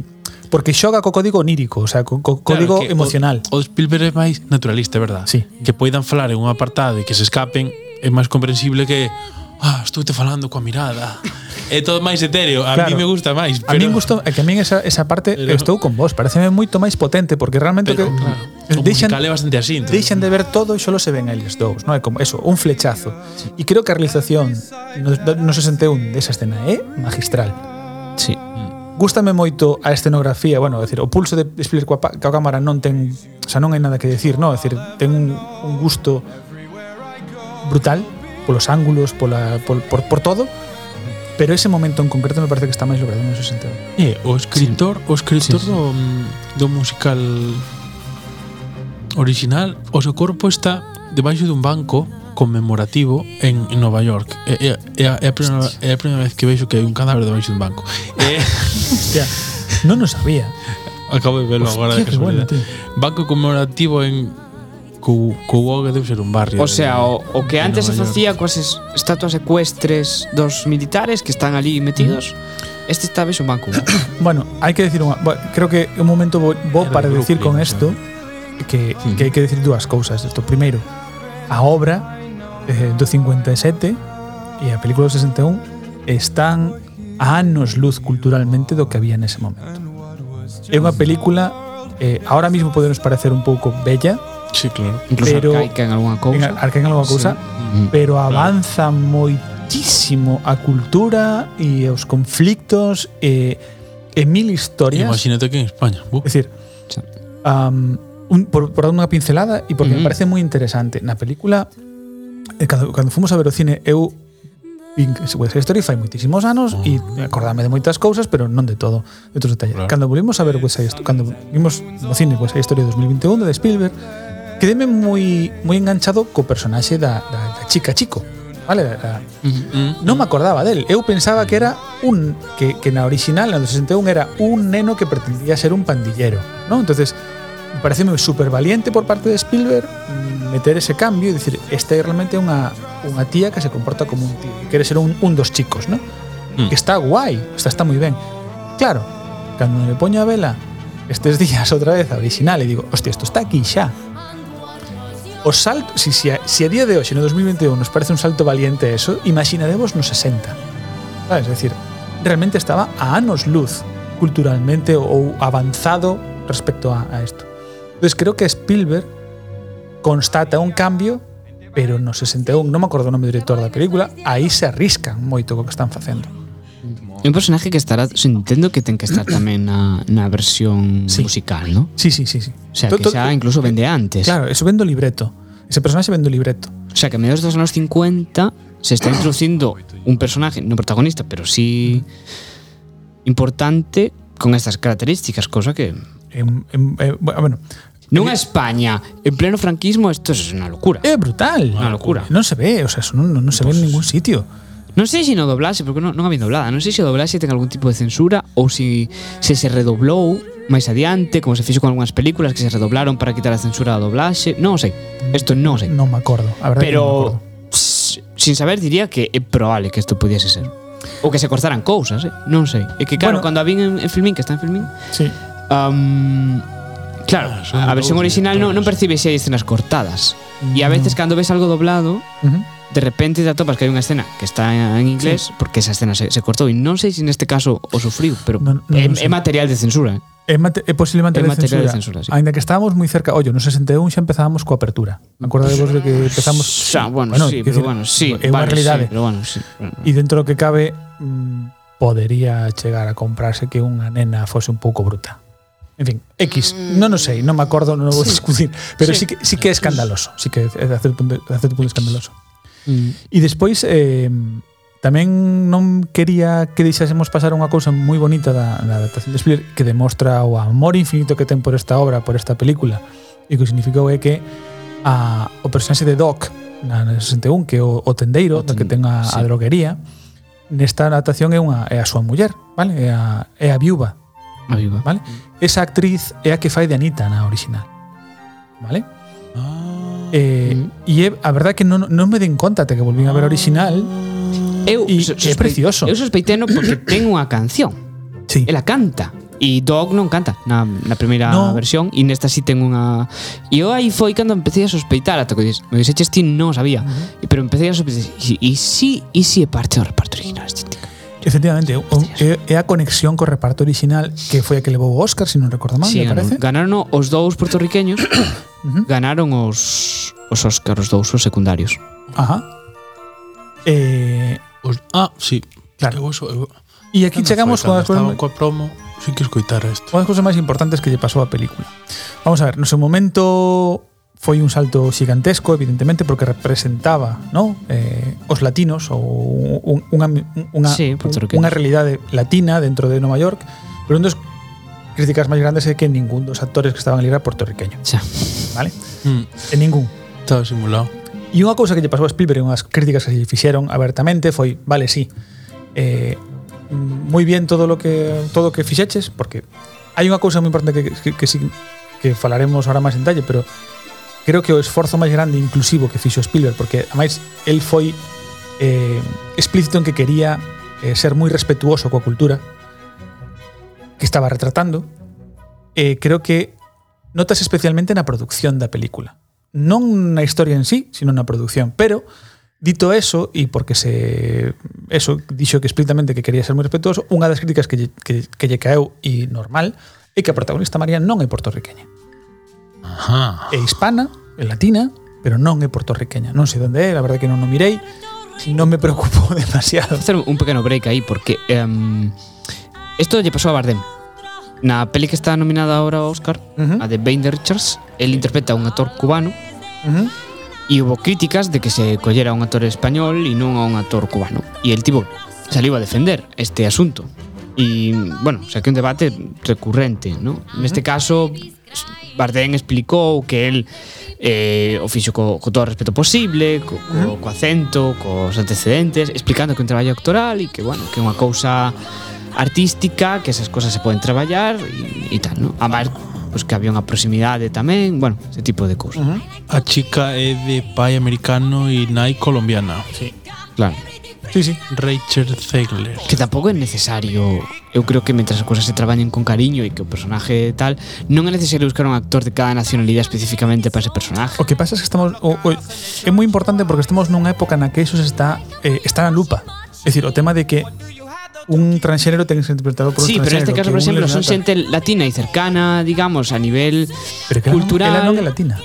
porque xoga co código onírico, o sea, co, co código que emocional. O, o Spielberg é máis naturalista, é verdad? Sí. Que poidan falar en un apartado e que se escapen é máis comprensible que ah, estou te falando coa mirada. é todo máis etéreo, a Claro. mí me gusta máis. a mí gusto, a que a mí esa, esa parte Pero- estou con vos, pareceme moito máis potente porque realmente Pero, o que, claro, o deixan, musical é bastante así. Entonces, deixan de ver todo e solo se ven eles dous, non é como eso, un flechazo. E creo que a realización no, no 61 desa escena é magistral. sí. Gústame moito a escenografía, bueno, é dicir, o pulso de Spielberg coa, pa- coa cámara non ten, o sea, non hai nada que decir, non, é dicir, ten un, un gusto brutal polos ángulos, pola, por, por, por todo, pero ese momento en concreto me parece que está máis logrado no 61. É, o escritor, o escritor Do, do musical original, o seu corpo está debaixo dun banco conmemorativo en, en Nova York. É, é, é, a, é, a primeira, é a primeira vez que vexo que hai un cadáver debaixo dun banco. É, Hostia, non o sabía. Acabo de verlo agora de Hostia, qué bueno, casualidade. Banco conmemorativo en Cou- Couoga debe ser un barrio. O sea, o, o que de antes se Nova York. facía coas es- estatuas ecuestres dos militares que están ali metidos, Mm. este está vez un banco. Bueno, hay que decir, unha- bueno, creo que un momento bo, bo Era para de decir con Brooklyn, esto que, Sí. que hai que decir dúas cousas disto. Primeiro, a obra eh, do 57 e a película do 61 están a anos luz culturalmente do que había nese momento. É unha película eh, ahora mismo podenos parecer un pouco bella, Sí, claro. Incluso Pero- arcaica en alguna en, cousa. arcaica en alguma cousa, Mm. pero avanza moitísimo a cultura e os conflictos e, e mil historias. Imagínate que en España. Bu. Es decir, Sí. am, un- por, por dar una pincelada y porque me Ujú. parece muy interesante. Na película, eh, cando, cando fomos a ver o cine, eu vin que se West Side Story fai moitísimos anos e acordame de moitas cousas, pero non de todo, de outros detalles. Claro. Cando volvimos a ver West Side Story, cando vimos no cine West Side Story 2021 de Spielberg, quedeme moi moi enganchado co personaxe da, da, da chica chico, vale? Da, da, Mm. non me acordaba del. Eu pensaba que era un que, que na original, na do 61 era un neno que pretendía ser un pandillero, ¿no? Entonces, me parece super valiente por parte de Spielberg mm, meter ese cambio y decir, esta é realmente unha unha tía que se comporta como un tío, que quere ser un, un dos chicos, ¿no? Que Mm. está guai, está está moi ben. Claro, cando me poño a vela estes días outra vez a original e digo, hostia, isto está aquí xa. O salto, si, si, a, si a día de hoxe, no 2021, nos parece un salto valiente eso, imaginaremos no 60. ¿Sabes? Ah, Es decir, realmente estaba a anos luz culturalmente ou avanzado respecto a, a esto. Entonces creo que Spielberg constata un cambio, pero no 61, non me acordo o nome do director da película, aí se arriscan moito co que están facendo. É un personaje que estará, se entendo que ten que estar tamén na, na versión Sí. musical, ¿no? Sí, sí, sí, sí. O sea, To- que to- xa incluso vende antes. Claro, eso vendo libreto. Ese personaxe vendo libreto. O sea, que a mediados dos años 50 se está introduciendo un personaje, no protagonista, pero sí importante con estas características, cosa que... Em, em, eh, bueno, Nunha España, en pleno franquismo, esto es una locura. É brutal. Unha locura. Pues Non se ve, o sea, eso non, non non se ve en ningún sitio. Non sei se no doblase, porque non, non había doblada, non sei se o doblase ten algún tipo de censura ou se se, se redoblou máis adiante, como se fixo con algunhas películas que se redoblaron para quitar a censura da doblaxe, non o sei, isto non o sei. Non me acordo, a verdade que non me pero acordo. s- sin saber diría que é probable que isto pudiese ser. Ou que se cortaran cousas, eh? non sei. É que claro, Bueno. cando a vin en, en Filmin, que está en Filmin, Sí. um, claro, Ah, son a versión dous original non, non directores. percibes se hai escenas cortadas. E a veces cando ves algo doblado, Ujú. de repente te atopas que hai unha escena que está en inglés porque esa escena se, se cortou e non sei se neste caso o sufriu, pero Non- non é, lo sei. é material de censura. eh. É, mate, é posible manter É a censura. material de censura, sí. Ainda que estábamos moi cerca, ollo, no 61 xa empezábamos coa apertura. Acordadevos de que empezamos Xa, bueno, sí, quer pero bueno, sí, é unha vale, realidade. Sí, pero bueno, sí. bueno. E dentro do que cabe mm, podería chegar a comprarse que unha nena fose un pouco bruta. En fin, X, Mm. non o sei, non me acordo, non o vou discutir, pero sí, sí que sí que é escandaloso, sí que é de certo punto, de certo punto escandaloso. Mm. E despois eh, tamén non quería que deixásemos pasar unha cousa moi bonita da, da adaptación de Spielberg que demostra o amor infinito que ten por esta obra, por esta película. E o que significou é que a, o personaxe de Doc na na 61, que é o, o tendeiro, O do que ten- ten a, a sí. droguería, nesta adaptación é, unha, é a súa muller, vale? É a, é a viúva A Ah, viva. Vale? esa actriz é a que fai de Anita na original. Vale? Eh, E é, a verdad que non, non me den conta até que volvín a ver a original. Eu E sos- é sospei- precioso. Eu sospeiteno porque ten unha canción. Sí. Ela canta. E Dog non canta na, na primeira No. versión e nesta si ten unha... E eu aí foi cando empecé a sospeitar ata que dis, me dixeches ti non o sabía. Uh -huh. Pero empecé a sospeitar. E- E si, e si é parte do reparto original este tío? Efectivamente, é, un- é- é a conexión co reparto original que foi a que levou o Oscar, se non recordo mal, Sí, me ganaron, parece. ganaron o- os dous puertorriqueños, ganaron os os Óscar, os dous os secundarios. Ajá. Eh, Os- Ah, sí. Claro. Eu eso, eu- e aquí chegamos con cando as cousas estaba coa promo, sí que escoitar isto. Unha das cousas máis importantes que lle pasou á película. Vamos a ver, no seu momento foi un salto xigantesco, evidentemente, porque representaba ¿no? eh, os latinos ou un, unha, unha, Sí, puertorriqueños. unha realidade latina dentro de Nova York, pero un dos críticas máis grandes é que ningún dos actores que estaban ali era puertorriqueño, Xa. vale? Mm, En ningún. estaba simulado. E unha cousa que lle pasou a Spielberg e unhas críticas que lle fixeron abertamente foi, vale, sí, eh, mm, moi bien todo lo que todo o que fixeches, porque hai unha cousa moi importante que, que, que, sí, que falaremos ahora máis en talle, pero creo que o esforzo máis grande inclusivo que fixo Spielberg, porque ademais el foi eh, explícito en que quería eh, ser moi respetuoso coa cultura que estaba retratando, eh, creo que notas especialmente na produción da película. Non na historia en sí, sino na produción. Pero, dito eso, e porque se eso dixo que explícitamente que quería ser moi respetuoso, unha das críticas que lle, que, que lle caeu e normal é que a protagonista María non é portorriqueña. Ajá. É hispana, é latina, pero non é portorriqueña. Non sei onde é, a verdade que non o mirei, non me preocupo demasiado. hacer un pequeno break ahí porque em, esto lle pasou a Bardem. Na peli que está nominada ahora ao Oscar, Ujú. a de Bane de Richards, el interpreta a un actor cubano Uh -huh. e houve críticas de que se collera a un actor español e non a un actor cubano. E el tipo saliu a defender este asunto. E, bueno, o sea, que é un debate recurrente, ¿no? Neste caso, Bardem explicou que el eh, o fixo co, co todo o respeto posible, co, co, co acento, cos antecedentes, explicando que é un traballo actoral e que, bueno, que é unha cousa artística, que esas cosas se poden traballar e, e tal, ¿no? A máis, pues, que había unha proximidade tamén, bueno, ese tipo de cousas. Uh -huh. A chica é de pai americano e nai colombiana. Sí. Claro. Sí, sí. Rachel Zegler. Que tampouco é necesario Eu creo que mentras as cousas se traballen con cariño E que o personaje tal Non é necesario buscar un actor de cada nacionalidade Especificamente para ese personaje O que pasa es que estamos o, o, é moi importante porque estamos nunha época na que iso se está eh, está na lupa. É dicir, o tema de que un transxénero ten que ser interpretado por un Sí, pero transxénero. en este caso, que un por exemplo, lesbiana son xente latina e cercana, digamos, a nivel tal. Pero que ela non- cultural. Ela non é latina.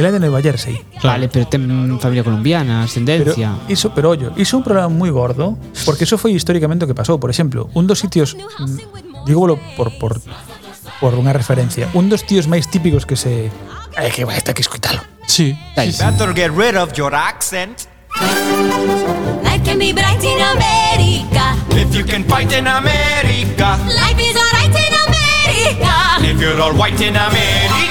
Ela é de Nueva Jersey. Vale, pero ten familia colombiana, Pero ascendencia. iso, pero ollo, iso é un problema moi gordo, porque iso foi históricamente o que pasou. Por exemplo, un dos sitios, mm, dígolo por, por, por unha referencia, un dos tíos máis típicos que se... É que vai, está que escuitalo. Sí. Tal. Better get rid of your accent. Life can be bright in America. If you can fight in America. Life is alright in America. If you're all white in America.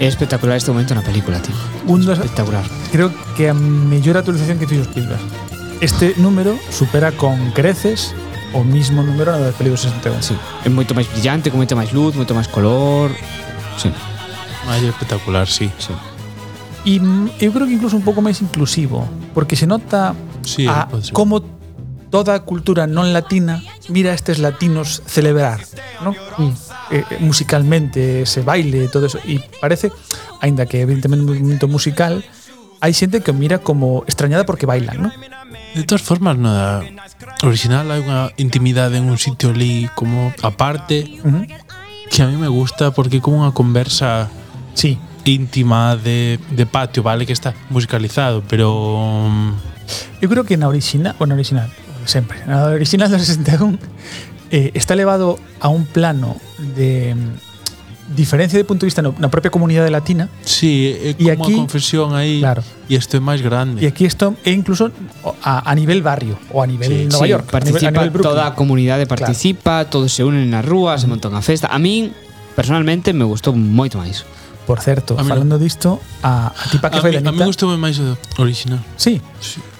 É espectacular este momento na película, tío. Un dos, Espectacular. creo que a mellor actualización que fixo Spielberg. Este número supera con creces o mismo número na das películas 61. Sí, é moito máis brillante, con moito máis luz, moito máis color. Sí, Ay, Ah, espectacular, sí. sí. E mm, eu creo que incluso un pouco máis inclusivo, porque se nota Sí, a pode ser. como toda a cultura non latina mira a estes latinos celebrar, ¿no? Eh, eh, musicalmente, ese baile, todo eso e parece, aínda que evidentemente un movimento musical, hai xente que o mira como extrañada porque bailan, ¿no? De todas formas, nada. Original hai unha intimidade en un sitio ali como aparte Ujú. que a mí me gusta porque é como unha conversa Sí. íntima de, de patio, vale que está musicalizado, pero mm, Yo creo que en la original, bueno, original, siempre, en la original del 61 eh, está elevado a un plano de mm, diferencia de punto de vista en la propia comunidad latina. sí, é E como aquí- a confesión aí Claro. e isto é Y máis grande. aquí esto, e incluso a, a nivel barrio o a nivel Sí, Nueva Sí, York, a nivel- participa a nivel Brooklyn. toda a comunidade participa, todos se unen na rúa, se montan a festa. A min personalmente me gustou moito máis. Por cierto, A mí no. hablando de esto, a, a tipa que a, fue mí, a mí gustoume máis o original. Sí.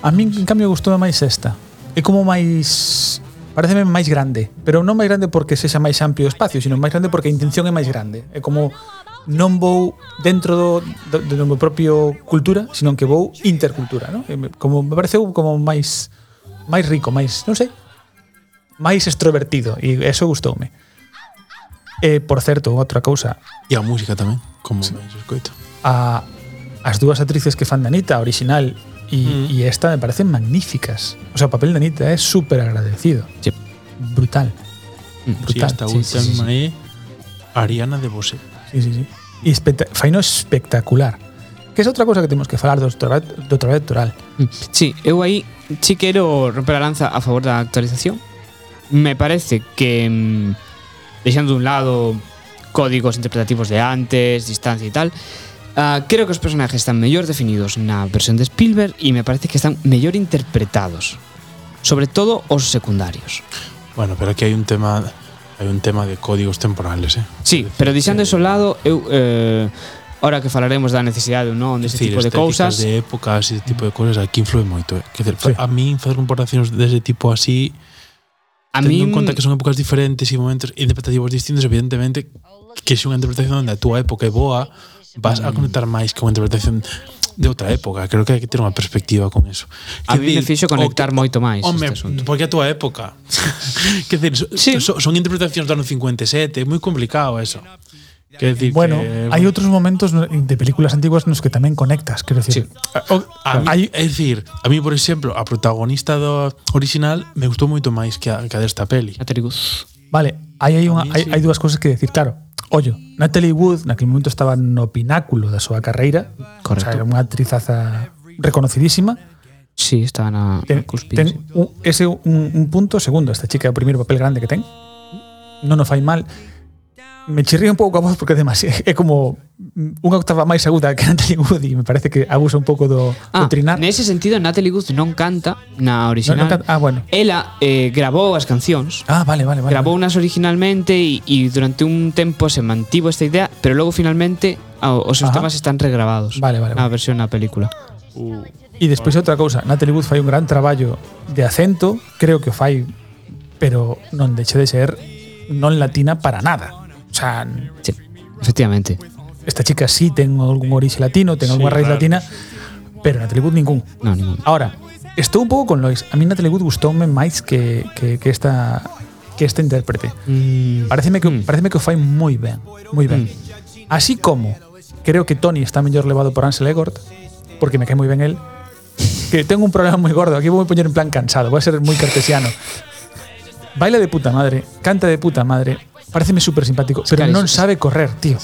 A mí, en cambio, gustó más esta. Es como más... Pareceme más grande, pero no más grande porque sea más amplio espacio, sino más grande porque a intención es más grande. Es como non vou dentro do, do, do meu propio cultura, sino que vou intercultura, ¿no? E me- Como me parece como máis máis rico, máis, non sei, máis extrovertido e eso gustoume. Eh, por certo, outra cousa, E a música tamén, como sí. máis escoito. a as dúas actrices que fan de Anita, a original e, e esta me parecen magníficas. O sea, o papel de Anita é super agradecido. Sí. Mm, Brutal. Si Brutal. esta sí, sí, sí, sí. última é Ariana de Bosé. Sí, sí, sí. E especta faino espectacular. Que é outra cosa que temos que falar do doctorado, do doctorado doctoral. Sí, eu aí sí quero romper a lanza a favor da actualización. Me parece que mm, deixando de un lado códigos interpretativos de antes, distancia e tal, Ah, creo que os personajes están mellor definidos na versión de Spielberg e me parece que están mellor interpretados. Sobre todo os secundarios. Bueno, pero aquí hay un tema hay un tema de códigos temporales, eh. Sí, pero deixando eso ao lado, eu eh, ahora que falaremos da necesidade ou non deste tipo de Mm. estéticas cousas, de épocas e ese tipo de cosas aquí influe moito. eh. Quer dizer, a mí facer comparacións dese tipo así, a tendo min en conta que son épocas diferentes e momentos interpretativos distintos, evidentemente que se unha interpretación da túa época é boa, Mm. vas a conectar máis que unha interpretación de outra época. Creo que hai que ter unha perspectiva con eso. a Quer mí me dicir, fixo o que- conectar moito máis Home, este asunto. porque a túa época. Quer dizer, so, so, son interpretacións do ano 57, é moi complicado eso. Quer dizer Bueno, que, hay otros momentos de películas antiguas en los que también conectas, quiero decir. O- A hay- mí, é dicir, a mí, por exemplo, a protagonista do original me gustou moito máis que a, que a desta peli. Catericus. vale, aí hai, unha, mí hai, sí. hai dúas cousas que decir, claro. Ollo, Natalie Wood naquele momento estaba no pináculo da súa carreira, O Correcto. sea, era unha actrizaza reconocidísima. Sí, estaba na, Ten, na cuspide. ten un, ese un, un punto, segundo, esta chica é o primeiro papel grande que ten. Non o fai mal. Me chirría un pouco a voz porque é demasiado, é como unha octava máis aguda que Natalie Wood e me parece que abusa un pouco do, do Ah, trinar. nese sentido, Natalie Wood non canta Non, na non original. can- ah, bueno. Ela eh, grabou as cancións Ah, vale, vale, vale. grabó unas originalmente y, y durante un tiempo se mantuvo esta idea, pero luego finalmente os Ajá. temas están regrabados. Vale, vale, La vale. versión a película. E despois outra cousa, Natalie Wood fai un gran traballo de acento, creo que o fai, pero non deixe de ser non latina para nada. O sea, Sí, efectivamente. esta chica sí ten algún orixe latino, ten algunha raíz latina, pero Natalie Wood ningún. No, ninguno. Ahora, estou un pouco con Lois. A mí Natalie Wood gustoume máis que, que, que esta que esta intérprete. Mm, Pareceme que Mm. pareceme que o fai moi ben, moi ben. Mm. Así como creo que Tony está mellor levado por Ansel Elgort, porque me cae moi ben el. Que tengo un problema moi gordo, aquí vou poñer en plan cansado, voy a ser moi cartesiano. Baila de puta madre, canta de puta madre, pareceme súper simpático, pero claro, non es- sabe correr, tío.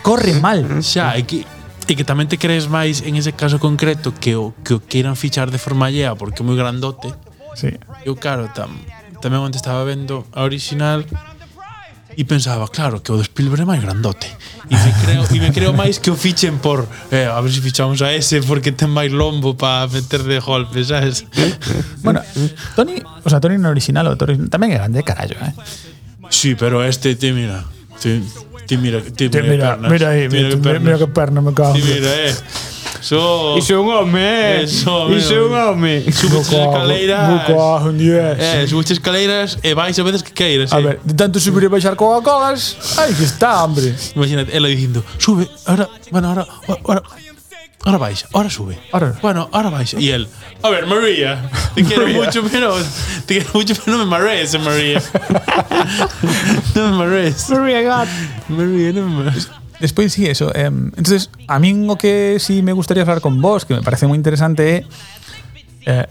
Corre mal. Xa, e que, e que tamén te crees máis en ese caso concreto que o que o queiran fichar de forma allea porque é moi grandote. Sí. Eu, claro, tam, tamén onde estaba vendo a original e pensaba, claro, que o de Spielberg é máis grandote. E me creo, e me creo máis que o fichen por eh, a ver se fichamos a ese porque ten máis lombo para meter de golpe, sabes? Bueno, Mm, Tony, o sea, Tony no original, o Tony tamén é grande, carallo, eh. Sí, pero este, ti mira. Ti, ti mira, Tío, ti mira, mira, pernas, mira aí, ti mira, mira, pernas. mira que perna me cago. Ti mira, eh. So, Iso é un home, eh? Eso, amigo. Iso é un home. subes as Me escaleiras. cago en 10. Eh, subes as escaleiras e eh, vais a veces que queiras. A eh. ver, de tanto subir e baixar Coca-Colas, aí que está, hombre. Imagínate, ela dicindo, sube, ahora, bueno, ahora, ahora, ahora baixa, ahora sube. Ahora. Bueno, ahora baixa. Y él, a ver, María, te quiero mucho, pero te quiero mucho, pero no me marees, eh, María. no me marees. María, God. María, no me marees. Despois sí, eso. Eh, entonces, a min o que sí me gustaría falar con vos, que me parece moi interesante, é eh,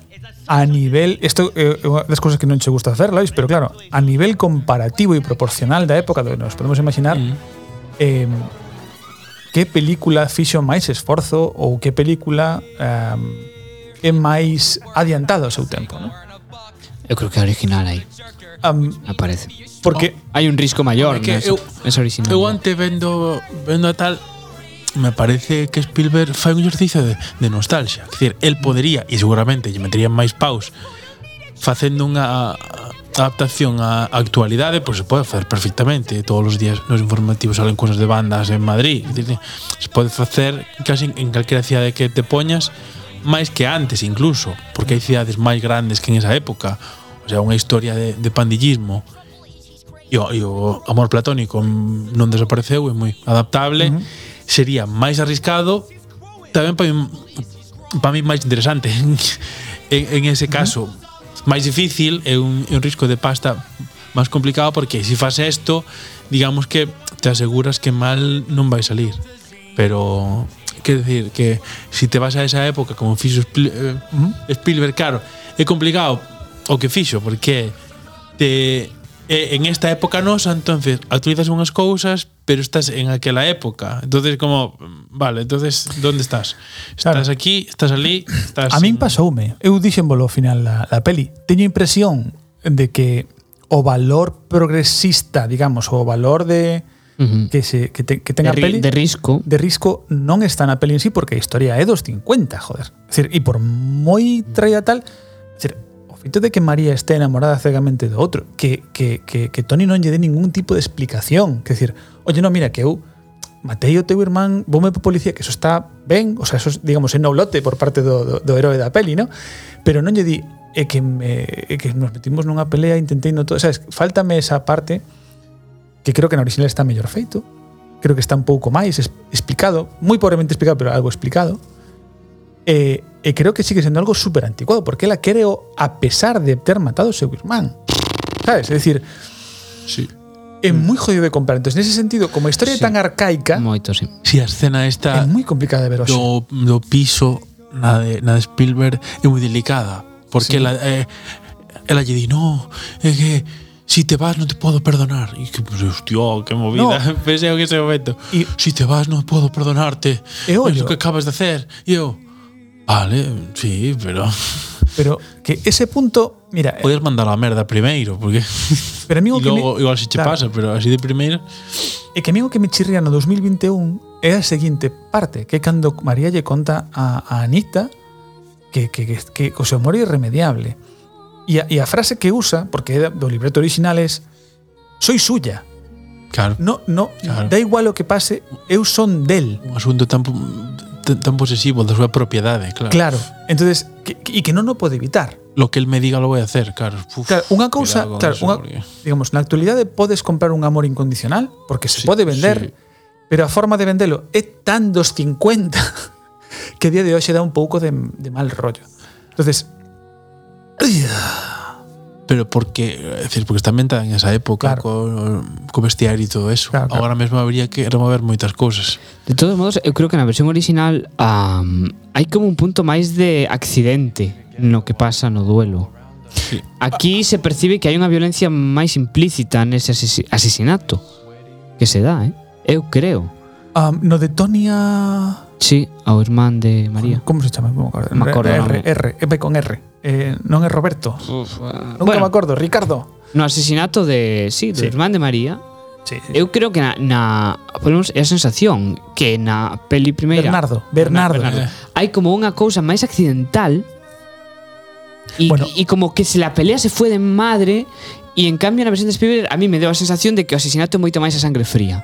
a nivel, isto é unha das cousas que non che gusta hacer, Lois, pero claro, a nivel comparativo e proporcional da época do que nos podemos imaginar, eh, que película fixo máis esforzo ou que película eh, é máis adiantada ao seu tempo, non? Eu creo que é original aí, Um, aparece. porque Hai un risco maior, Home, que nesa- eu- nesa original. Eu antes vendo, vendo a tal me parece que Spielberg fai un exercicio de, de nostalgia. Quer decir, el podería, e seguramente lle meterían máis paus, facendo unha adaptación á actualidade, pois se pode facer perfectamente. Todos os días nos informativos salen cosas de bandas en Madrid. Quer Dizer, se pode facer casi en, en calquera cidade que te poñas, máis que antes incluso, porque hai cidades máis grandes que en esa época. O sea, unha historia de, de pandillismo e o, e o amor platónico non desapareceu, é moi adaptable, uh -huh. sería máis arriscado, tamén para min, para min máis interesante en, en ese caso. Uh -huh. Máis difícil, é un, é un risco de pasta máis complicado porque se faz isto, digamos que te aseguras que mal non vai salir. Pero quer decir que se te vas a esa época como fixo Spiel- eh, Spielberg, claro, é complicado o que fixo porque te eh, en esta época nosa, entonces actualizas unhas cousas, pero estás en aquela época. Entonces como, mm, vale, entonces ¿dónde estás? Estás Claro. aquí, estás ali, estás a min en- pasoume, eu dixénvolo ao final da, da peli, teño a impresión de que o valor progresista, digamos, o valor de que, se, que, te- que tenga De, ri- peli. de risco. de risco non está na peli en sí porque a historia é dos 50, joder. É dicir, e por moi traída tal, é dicir, o feito de que María este enamorada cegamente do outro, que, que, que, que Tony non lle dé ningún tipo de explicación, que decir, oye, no, mira, que eu matei o teu irmán, voume pa policía, que eso está ben, o sea, eso, es, digamos, é no lote por parte do, do, do heroe da peli, ¿no? Pero non lle di, é que, me, é que nos metimos nunha pelea, intentei no todo, sabes, faltame esa parte que creo que na original está mellor feito, creo que está un pouco máis es- explicado, moi pobremente explicado, pero algo explicado. E, e creo que sigue sendo algo super anticuado, porque ela quere o a pesar de ter matado o seu irmán. Sabes? É dicir, Sí. é moi jodido de comprar. Entón, nese sentido, como a historia é Sí. tan arcaica, Moito, sí. Si a escena é esta moi complicada de ver hoxe. do, do piso na de, na de Spielberg é moi delicada porque ela eh, ela lle di no, é que si te vas non te podo perdonar e que pues, hostia, que movida no. pensei en ese momento Y- si te vas non podo perdonarte E é ollo. o que acabas de hacer e eu Vale, sí, pero Pero que ese punto, mira, eh, podes mandar a merda primeiro, porque e pero a mí o que logo me, igual se che Claro. pasa, pero así de primeira E que a mí o que me chirría no 2021 é a seguinte parte, que é cando María lle conta a, a Anita que, que, que, que o seu amor é irremediable. E a, e a frase que usa, porque é da- do libreto original é soy suya. claro, No, no, Claro. da igual o que pase, eu son del. un asunto tan po- tan, tan posesivo da súa propiedade, claro. Claro. Entonces, que, que- e que non o pode evitar. lo que él me diga lo voy a hacer, claro. Uf, Claro, unha cousa, cuidado con claro, eso, unha, porque- digamos, na actualidade podes comprar un amor incondicional porque se Sí, pode vender, sí. pero a forma de vendelo é tan dos 50 que a día de hoxe dá un pouco de, de mal rollo. Entonces, Pero porque, es decir, porque está ambientada en esa época Claro. con, con vestiario y todo eso. Claro, claro. Ahora mismo habría que remover moitas cousas. De todos modos, eu creo que na versión original am, hai como un punto máis de accidente no que pasa no duelo. Sí. Aquí se percibe que hai unha violencia máis implícita nese asesi- asesinato que se dá, eh? Eu creo. um, no de Tonia... Sí, ao irmán de María. Como se chama? Non Me acordo. Me acordo, R, non. R, R, con R. Eh, non é Roberto. Nunca me ah. Bueno, acordo. Ricardo. no asesinato de, sí, do Sí. irmán de María, Sí, sí. eu creo que na, na polo menos é a sensación que na peli primeira Bernardo. Bernardo. hai como unha cousa máis accidental e, Bueno. e como que se la pelea se fue de madre e en cambio na versión de Spielberg a mí me deu a sensación de que o asesinato é moito máis a sangre fría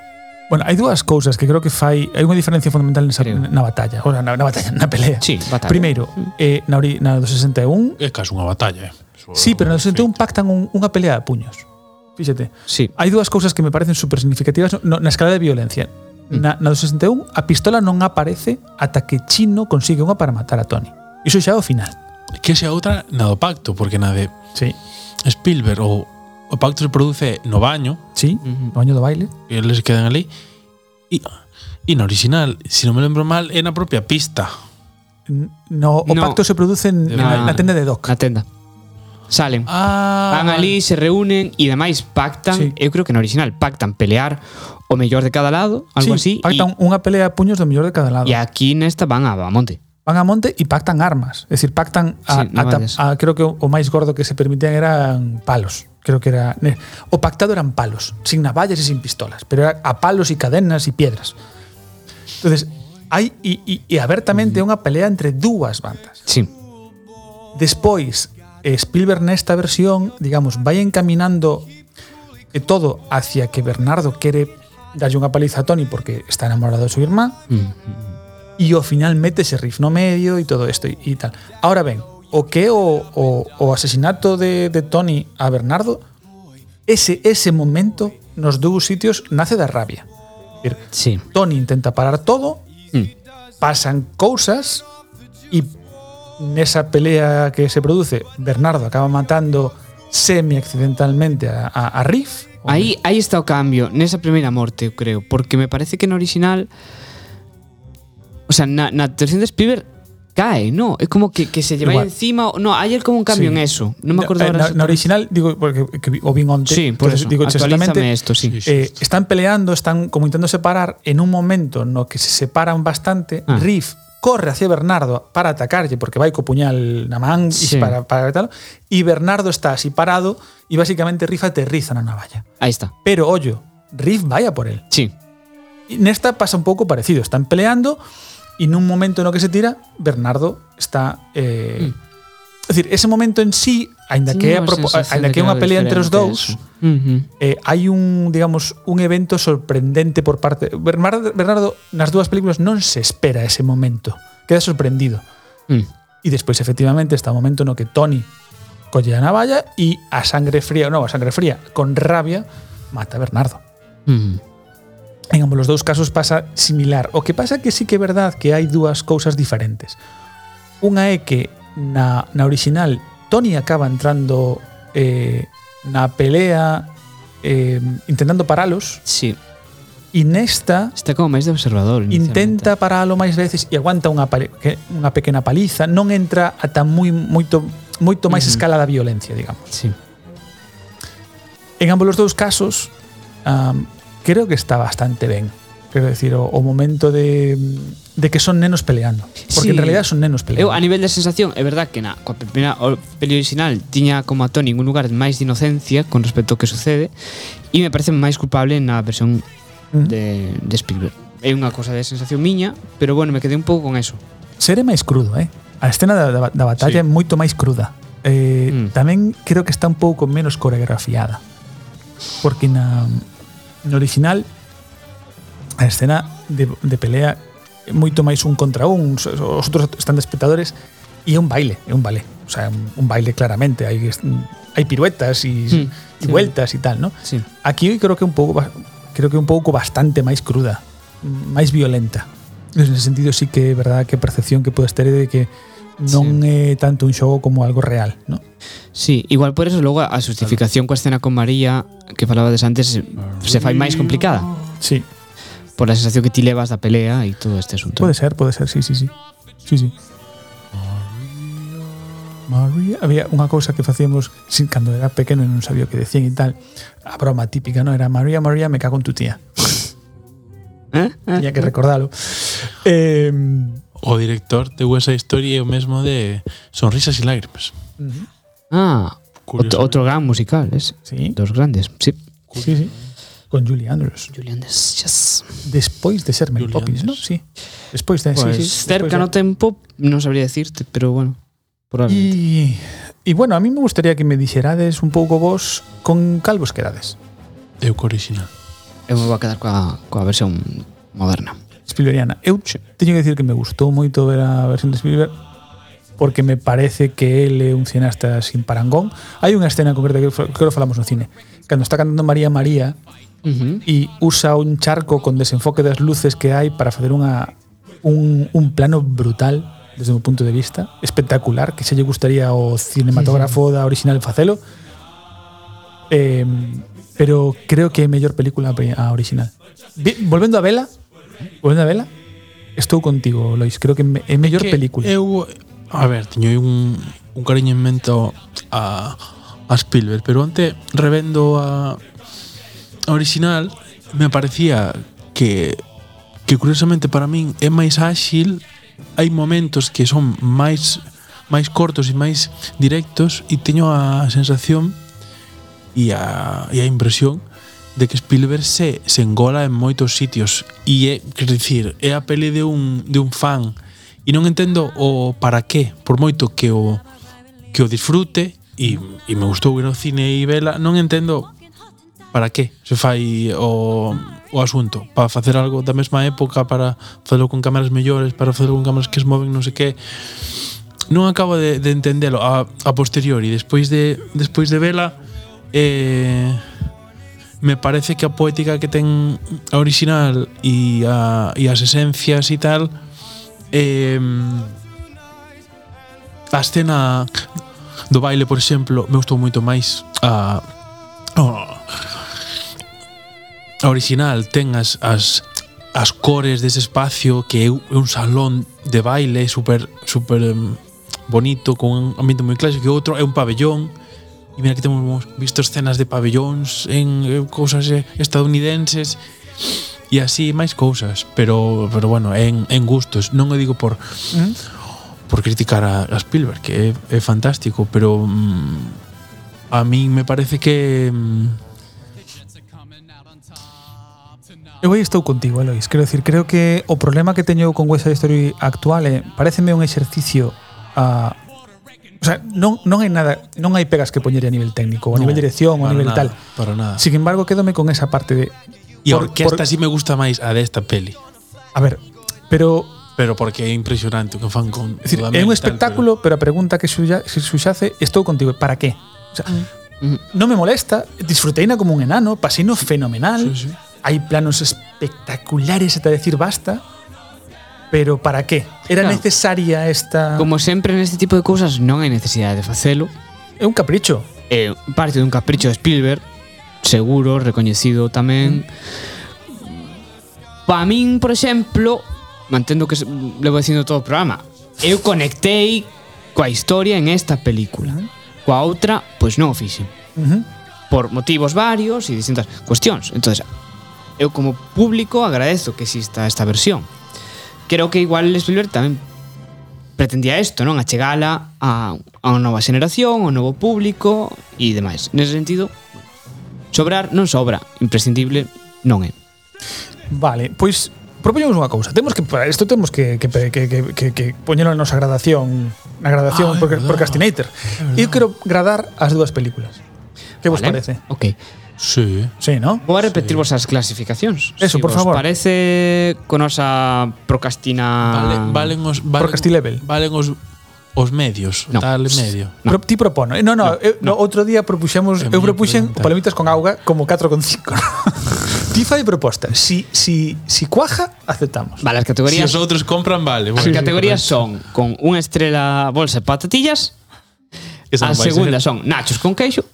Bueno, hai dúas cousas que creo que fai... Hai unha diferencia fundamental nesa, Creo. na batalla. O sea, na, na batalla, na pelea. Sí, batalla. Primeiro, eh, na, ori, na do 61 É casi unha batalla, eh. Sí, pero no 61 pactan un- unha pelea a puños. Fíxate. sí, Hai dúas cousas que me parecen super significativas no, na escala de violencia. Mm. Na, na do 61, a pistola non aparece ata que Chino consigue unha para matar a Tony. Iso xa é o final. Que sea outra na do pacto, porque na de Sí. Spielberg o, o pacto se produce no baño, Sí, Mm-hmm. no baño do baile. e eles quedan ali, e, e na original, se si non me lembro mal, é na propia pista. N- No, o No. Ah. pacto se produce en, na, Na- na tenda de Doc. na tenda salen Ah, Van ali, se reúnen e demais Sí. pactan, eu creo que no original pactan pelear o mellor de cada lado, algo sí, así. pactan unha pelea a puños do mellor de cada lado. e, e aquí nesta van a, a monte. Van a monte e pactan armas. É dicir, pactan a, Sí, no ata- varias. a- creo que o, o máis gordo que se permitían eran palos. Creo que era ne- o pactado eran palos, sin navallas e sin pistolas, pero era a palos e cadenas e piedras. Entonces, hai e, e, e abertamente é unha pelea entre dúas bandas. Sí. Despois, eh, Spielberg nesta versión, digamos, vai encaminando eh, todo hacia que Bernardo quere darlle unha paliza a Tony porque está enamorado do seu irmán. Mm. E ao final métese riff no medio e todo isto e, e tal. Ahora ben, o que é o, o, o asesinato de, de Tony a Bernardo, ese, ese momento nos dous sitios nace da rabia. É dicir, Sí. Tony intenta parar todo, Mm. pasan cousas e nesa pelea que se produce, Bernardo acaba matando semi-accidentalmente a, a, a Riff. Aí, aí está o cambio, nesa primeira morte, eu creo, porque me parece que no original O sea, na, na versión de Spielberg cae, no, é como que, que se lleva Igual. encima, no, hai el como un cambio Sí. en eso, non me acordo Na- ahora na, na exactamente. eh, original, digo, porque que vi- o vin onte. Sí, por entonces eso, digo, actualízame exactamente, esto, sí. Sí, sí. eh, están peleando, están como intentando separar en un momento no que se separan bastante, Ah. Riff corre hacia Bernardo para atacarle porque va con puñal na man Sí. y para, para tal, y Bernardo está así parado y básicamente Riff aterriza na navalla. Aí está. Pero ollo, Riff vaya por él. Sí. Y Nesta pasa un pouco parecido. Están peleando y en un momento en lo que se tira, Bernardo está... eh, Es decir, ese momento en sí, ainda que, é a propo- aínda que é unha pelea entre os dous, eh, hai un, digamos, un evento sorprendente por parte Bernardo, Bernardo nas dúas películas non se espera ese momento. Queda sorprendido. E despois efectivamente está o momento no que Tony colle a navalla e a sangre fría, non, a sangre fría, con rabia mata a Bernardo. Mm. En ambos los dous casos pasa similar. O que pasa que sí que é verdad que hai dúas cousas diferentes. Unha é que na, na original Tony acaba entrando eh, na pelea eh, intentando paralos Sí. e nesta Está como máis de observador. intenta paralo máis veces e aguanta unha, pali- que- unha pequena paliza non entra ata moi moito moito máis escala da violencia digamos inicialmente. Sí. En ambos los dous casos, am, creo que está bastante ben. Quero decir, o, o momento de, de que son nenos peleando. Porque Sí. en realidad son nenos Eu, peleando. a nivel de sensación, é verdad que na coa primeira o- peli original tiña como a Tony un lugar máis de inocencia con respecto ao que sucede e me parece máis culpable na versión Mm. de, de Spielberg. É unha cosa de sensación miña, pero bueno, me quedei un pouco con eso. Ser é máis crudo, eh? A escena da, da, da batalla Sí. é moito máis cruda. Eh, Mm. Tamén creo que está un pouco menos coreografiada. Porque na, no original a escena de, de pelea é moito máis un contra un, os os outros están de espectadores e é un baile, é un balé, o sea, é un, un baile claramente, hai es- hai piruetas e e Mm, vueltas e tal, ¿no? Sí. Aquí creo que un pouco ba- creo que un pouco bastante máis cruda, máis violenta. Nese sentido sí que é verdad que a percepción que podes ter é de que non é tanto un xogo como algo real, ¿no? Sí, igual por eso logo a justificación coa escena con María que falabades antes se, se fai máis complicada Sí, por a sensación que ti levas da pelea e todo este asunto. Puede ser, puede ser, sí, sí, sí. Sí, sí. María, había unha cousa que facíamos sin cando era pequeno e non sabía o que decían e tal. A broma típica, non? Era María, María, me cago en tu tía. Eh? Eh? Tiña que recordalo. Eh, O director de West Side Story é o mesmo de Sonrisas e Lágrimas. Ah, Curiosamente. outro, outro gran musical, es. sí, Dos grandes, sí. sí, sí. Con Julie Andrews. Julian Yes. Despois de ser Mary Julie Poppins, non? Andrews. Sí. Despois de... Pues sí, sí, despois cerca de- no tempo, non sabría decirte, pero bueno, probablemente. Y, y bueno, a mí me gustaría que me dixerades un pouco vos con calvos quedades. Eu co original. Eu me vou a quedar coa, coa versión moderna. Spielbergiana. Eu teño que decir que me gustou moito ver a versión de Spielberg porque me parece que él é un cineasta sin parangón. Hai unha escena concreta que fa- creo que falamos no cine, cando está cantando María María Uh -huh. e usa un charco con desenfoque das luces que hai para facer unha un, un plano brutal desde o meu punto de vista, espectacular, que se lle gustaría ao cinematógrafo da original facelo. Eh, pero creo que é mellor película a pri- a original. Vi- Volvendo a vela, volvendo a vela, estou contigo, Lois, creo que me- é mellor Que película. Eu, a ver, teño aí un, un cariño en mento a, a Spielberg, pero ante revendo a, a original me parecía que que curiosamente para min é máis áxil hai momentos que son máis máis cortos e máis directos e teño a sensación e a, e a impresión de que Spielberg se, se engola en moitos sitios e é, quer dicir, é a peli de un, de un fan e non entendo o para qué, por moito que o que o disfrute e, e me gustou ir ao cine e vela, non entendo para qué se fai o, o asunto para facer algo da mesma época para facelo con cámaras mellores para facelo con cámaras que se moven non sei que non acabo de, de entendelo a, a posteriori despois de despois de vela eh, me parece que a poética que ten a original e, a, e as esencias e tal eh, a escena do baile, por exemplo, me gustou moito máis a a original ten as, as as cores dese espacio que é u- é un salón de baile super super em, bonito con un ambiente moi clásico e outro é un pabellón e mira que temos visto escenas de pabellóns en eh, cousas eh, estadounidenses e así máis cousas pero pero bueno en, en gustos non o digo por Mm. por criticar a, a Spielberg que é, é fantástico pero mm, a mí me parece que mm, Eu aí estou contigo, Elois. Quero decir, creo que o problema que teño con West Side Story actual é, pareceme un exercicio a O sea, non, non hai nada, non hai pegas que poñer a nivel técnico, a nivel dirección, a para nivel tal. nada, Para nada. Sin embargo, quédome con esa parte de E a por- por- orquesta sí me gusta máis a desta peli. A ver, pero Pero porque é impresionante o que fan con... é decir, é Dudamel un e tal, espectáculo, pero, a pregunta que suya, se suxace, estou contigo, para qué? O sea, Mm. non me molesta, disfruteina como un enano, paseino fenomenal, Mm-hmm. Sí, sí. hai planos espectaculares ata decir basta, pero para qué? Era Claro. necesaria esta... Como sempre neste tipo de cousas non hai necesidade de facelo. É un capricho. É Eh, parte dun capricho de Spielberg, seguro, recoñecido tamén. Pa min, por exemplo, mantendo que se- levo dicindo todo o programa, eu conectei coa historia en esta película. Coa outra, pois non o fixen. Ujú. por motivos varios e distintas cuestións. Entonces, eu como público agradezo que exista esta versión. Creo que igual Spielberg tamén pretendía isto, non? Achegala a, a unha nova xeneración, a un novo público e demais. Nese sentido, sobrar non sobra, imprescindible non é. Vale, pois propoñemos unha cousa. Temos que para isto temos que que que que que, que poñelo na nosa gradación, na gradación Ah, é por, verdad. procrastinator. Eu quero gradar as dúas películas. Que vos Vale? Pois parece? Ok. Sí. Sí, ¿no? Vou a repetirvos as clasificacións. Eso, se por vos favor. parece con nosa procrastina... Ah. Vale, valen os... Valen, Procrasti level. Valen os, os medios. No. No. Tal medio. No. Pro, ti propono. Eh, No, no, no, eu, no. outro día propuxemos, É eu moi propuxen imprudente. palomitas con auga como 4 con 5. ti fai proposta. Si si si cuaja, aceptamos. Vale, as Si categorías os outros compran, vale. As categorías son con unha estrela bolsa de patatillas, a segunda son nachos con queixo,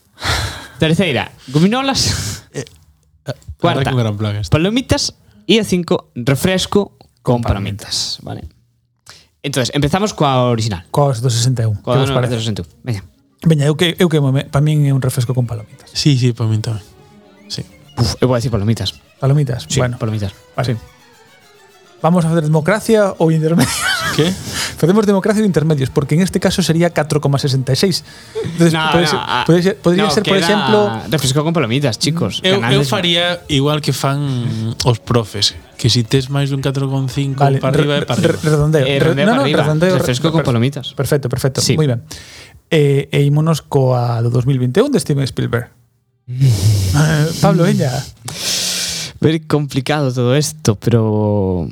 terceira, gominolas, Eh, cuarta, Un gran plan esta. palomitas e a cinco, refresco con palomitas. Vale. Entonces, empezamos coa original. Cos do 61. Coa que vos do parece? 1961. Veña. Veña, eu que eu que para min é un refresco con palomitas. Sí, sí, para min tamén. Sí. Puf, eu vou decir palomitas. Palomitas. Sí, bueno, palomitas. así. Vamos a hacer democracia ou intermedio. Que? Facemos democracia de intermedios, porque en este caso sería 4,66. Entonces, No, pode no, ser- ah, pode ser- podría no, ser, por queda exemplo, Refresco con palomitas, chicos. Eu, Canales- eu faría igual que fan os profes, que si tes máis dun 4,5 vale, para arriba é re- para re- arriba. redondeo. Eh, Re- redondeo para arriba. Refresco con per- palomitas. Perfecto, perfecto. Sí. Muy bien. Eh, e ímonos coa do 2021 e de Steven Spielberg. Eh, Pablo Ella. Ver complicado todo esto, pero...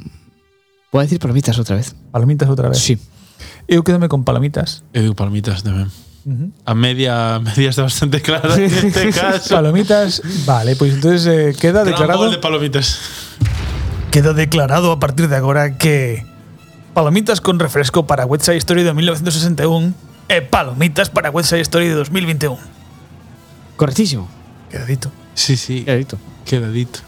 Vou decir palomitas outra vez. Palomitas outra vez. Sí. Eu quedome con palomitas. Eu digo palmitas tamén. Ujú. A media, a media está bastante clara en este caso. Palomitas, vale, pois entonces eh, queda Gran declarado gol de palomitas. Queda declarado a partir de agora que Palomitas con refresco para West Side Story de 1961 e Palomitas para West Side Story de 2021. Correctísimo. Quedadito. Sí, sí. Quedadito. Quedadito.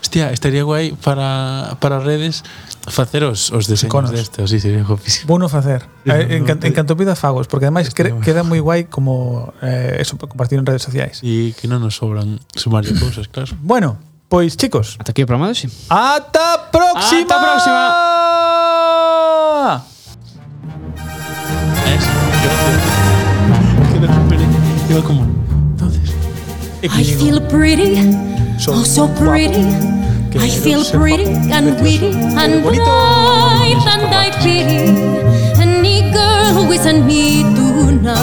Hostia, estaría guai para, para redes facer os, os Iconos. deseños destes. Sí, sería guapísimo. Bueno facer. Eh, en, can, en canto pida fagos, porque ademais Está cre- moi queda moi guai como eh, eso para compartir en redes sociais. E que non nos sobran sumar de cousas, claro. Bueno, pois chicos, Ata aquí o programa de hoxe. ata próxima. Ata próxima. Es, gracias. Que de repente iba como... Entonces... I feel pretty, oh so pretty. I feel pretty and witty and bright, and I pity any girl who isn't me tonight.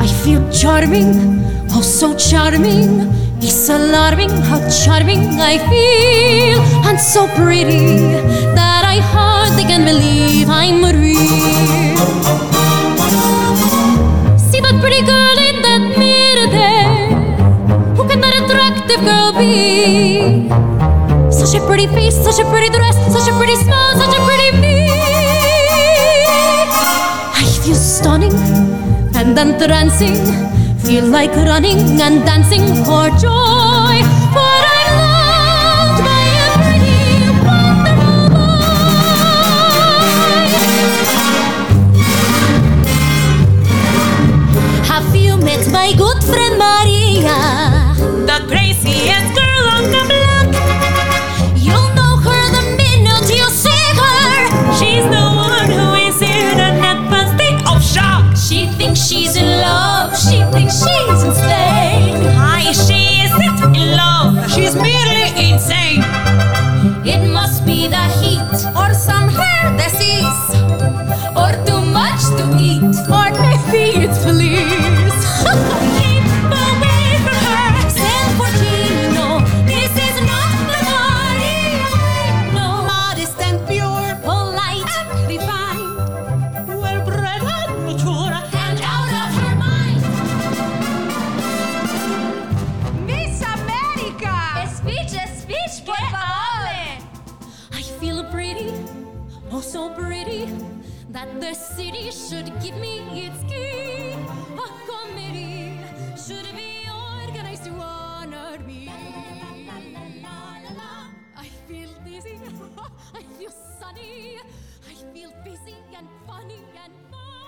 I feel charming, oh so charming. It's alarming how charming I feel, and so pretty that I hardly can believe I'm real. See that pretty girl in that mirror there. Who can that attractive girl be? Such a pretty face, such a pretty dress, such a pretty smile, such a pretty me. I feel stunning and entrancing. Feel like running and dancing for joy. For I'm loved by a pretty, wonderful boy. Have you met my good friend Maria? The craziest girl on the block. You'll know her the minute you see her. She's the one who is in a net busting of shock. She thinks she's in love. She thinks she's insane. Hi, she isn't in love. She's merely Oh, so pretty that the city should give me its key. A committee should be organized to honor me. I feel dizzy. I feel sunny. I feel busy and funny and fun. Ah,